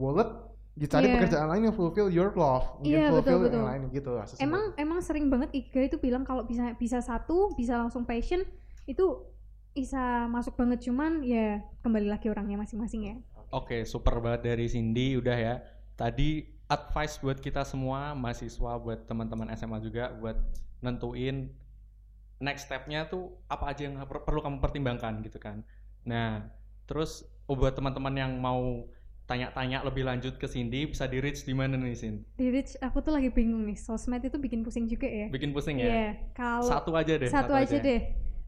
C: wallet dicari
D: Iya.
C: pekerjaan lain yang fulfill your love mungkin
D: Iya, betul,
C: fulfill
D: betul.
C: yang lain gitu lah, sesimpel.
D: Emang emang sering banget ikigai itu bilang kalau bisa bisa satu bisa langsung passion itu bisa masuk banget cuman ya kembali lagi orangnya masing-masing ya.
B: Oke, super banget dari Cindy udah ya. Tadi advice buat kita semua mahasiswa, buat teman-teman SMA juga buat nentuin next stepnya tuh apa aja yang per- perlu kamu pertimbangkan gitu kan. Nah, terus oh, buat teman-teman yang mau tanya-tanya lebih lanjut ke Cindy bisa di reach di mana nih Cindy?
D: Di Rich aku tuh lagi bingung nih sosmed itu bikin pusing juga ya.
B: Bikin pusing
D: Iya,
B: ya.
D: kalau
B: Satu aja deh.
D: satu, aja deh.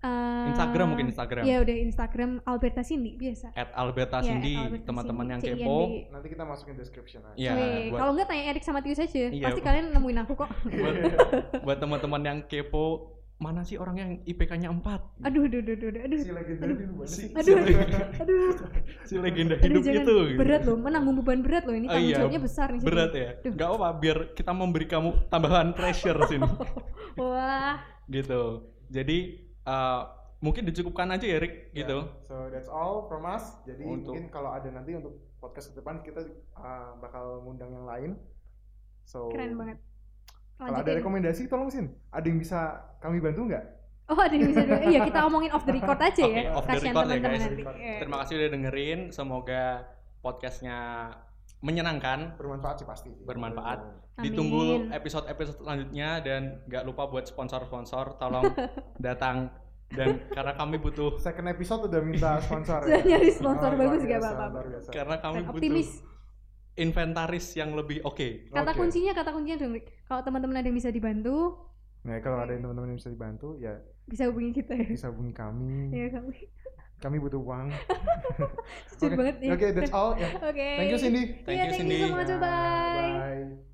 D: Eh,
B: Instagram mungkin Instagram.
D: Iya udah Instagram Alberta Cindy biasa.
B: At Alberta
D: Iya,
B: Cindy,
D: at Alberta
B: teman-teman
D: Cindy,
B: yang
D: C-I-N-D.
B: kepo.
C: nanti kita masukin description aja
B: Iya,
D: Weh,
B: buat-
D: kalau nggak tanya Erik sama Tius aja,
B: Iya.
D: pasti kalian nemuin aku kok.
B: buat,
D: Iya.
B: buat teman-teman yang kepo mana sih orang yang IPK-nya 4
D: Aduh, aduh, aduh, aduh, aduh, aduh,
C: si legenda ini gimana sih
B: Si-
D: aduh, aduh,
B: si legenda
D: aduh,
B: hidup
D: jangan
B: itu gitu.
D: berat loh, menanggung beban berat loh ini
B: Oh,
D: tanggung
B: iya,
D: jawabnya besar nih. sini.
B: berat ya
D: Duh.
B: nggak apa biar kita memberi kamu tambahan pressure sini
D: Wah,
B: gitu jadi eh, mungkin dicukupkan aja ya Rick
C: Ya,
B: gitu
C: so that's all from us jadi
B: Untuk-
C: mungkin kalau ada nanti untuk podcast ke depan kita uh, bakal ngundang yang lain so
B: Oh.
D: keren banget.
C: kalau ada
D: Lanjutin.
C: rekomendasi tolong sin ada yang bisa kami bantu nggak
D: Oh ada yang bisa dulu. Iya kita omongin off the record aja
B: Oke,
D: ya.
B: off the
D: Kasihan
B: record ya,
D: teman-teman
B: guys.
D: nanti. Iya.
B: terima kasih udah dengerin semoga podcastnya menyenangkan,
C: bermanfaat sih pasti Gitu. sih.
B: Bermanfaat.
D: Eh, Amin.
B: ditunggu episode-episode selanjutnya dan nggak lupa buat sponsor-sponsor tolong datang dan karena kami butuh
C: second episode udah minta sponsor Oh, iya,
D: Sudah nyari sponsor,
C: luar
D: bagus gak
C: biasa,
D: apa-apa.
C: luar biasa.
B: karena kami
D: Dan
B: butuh
D: optimis.
B: inventaris yang lebih oke.
D: Kata
C: Oke.
D: kuncinya, kata kuncinya dong. Rick. Kalau teman-teman ada yang bisa dibantu,
C: nah kalau ada yang teman-teman yang bisa dibantu ya
D: bisa hubungi kita ya.
C: bisa hubungi kami
D: Ya kami.
C: kami butuh uang
D: Jujur banget ya.
C: oke that's all ya
D: Oke.
C: thank you Cindy
D: Iya, thank you so much. Bye.
C: bye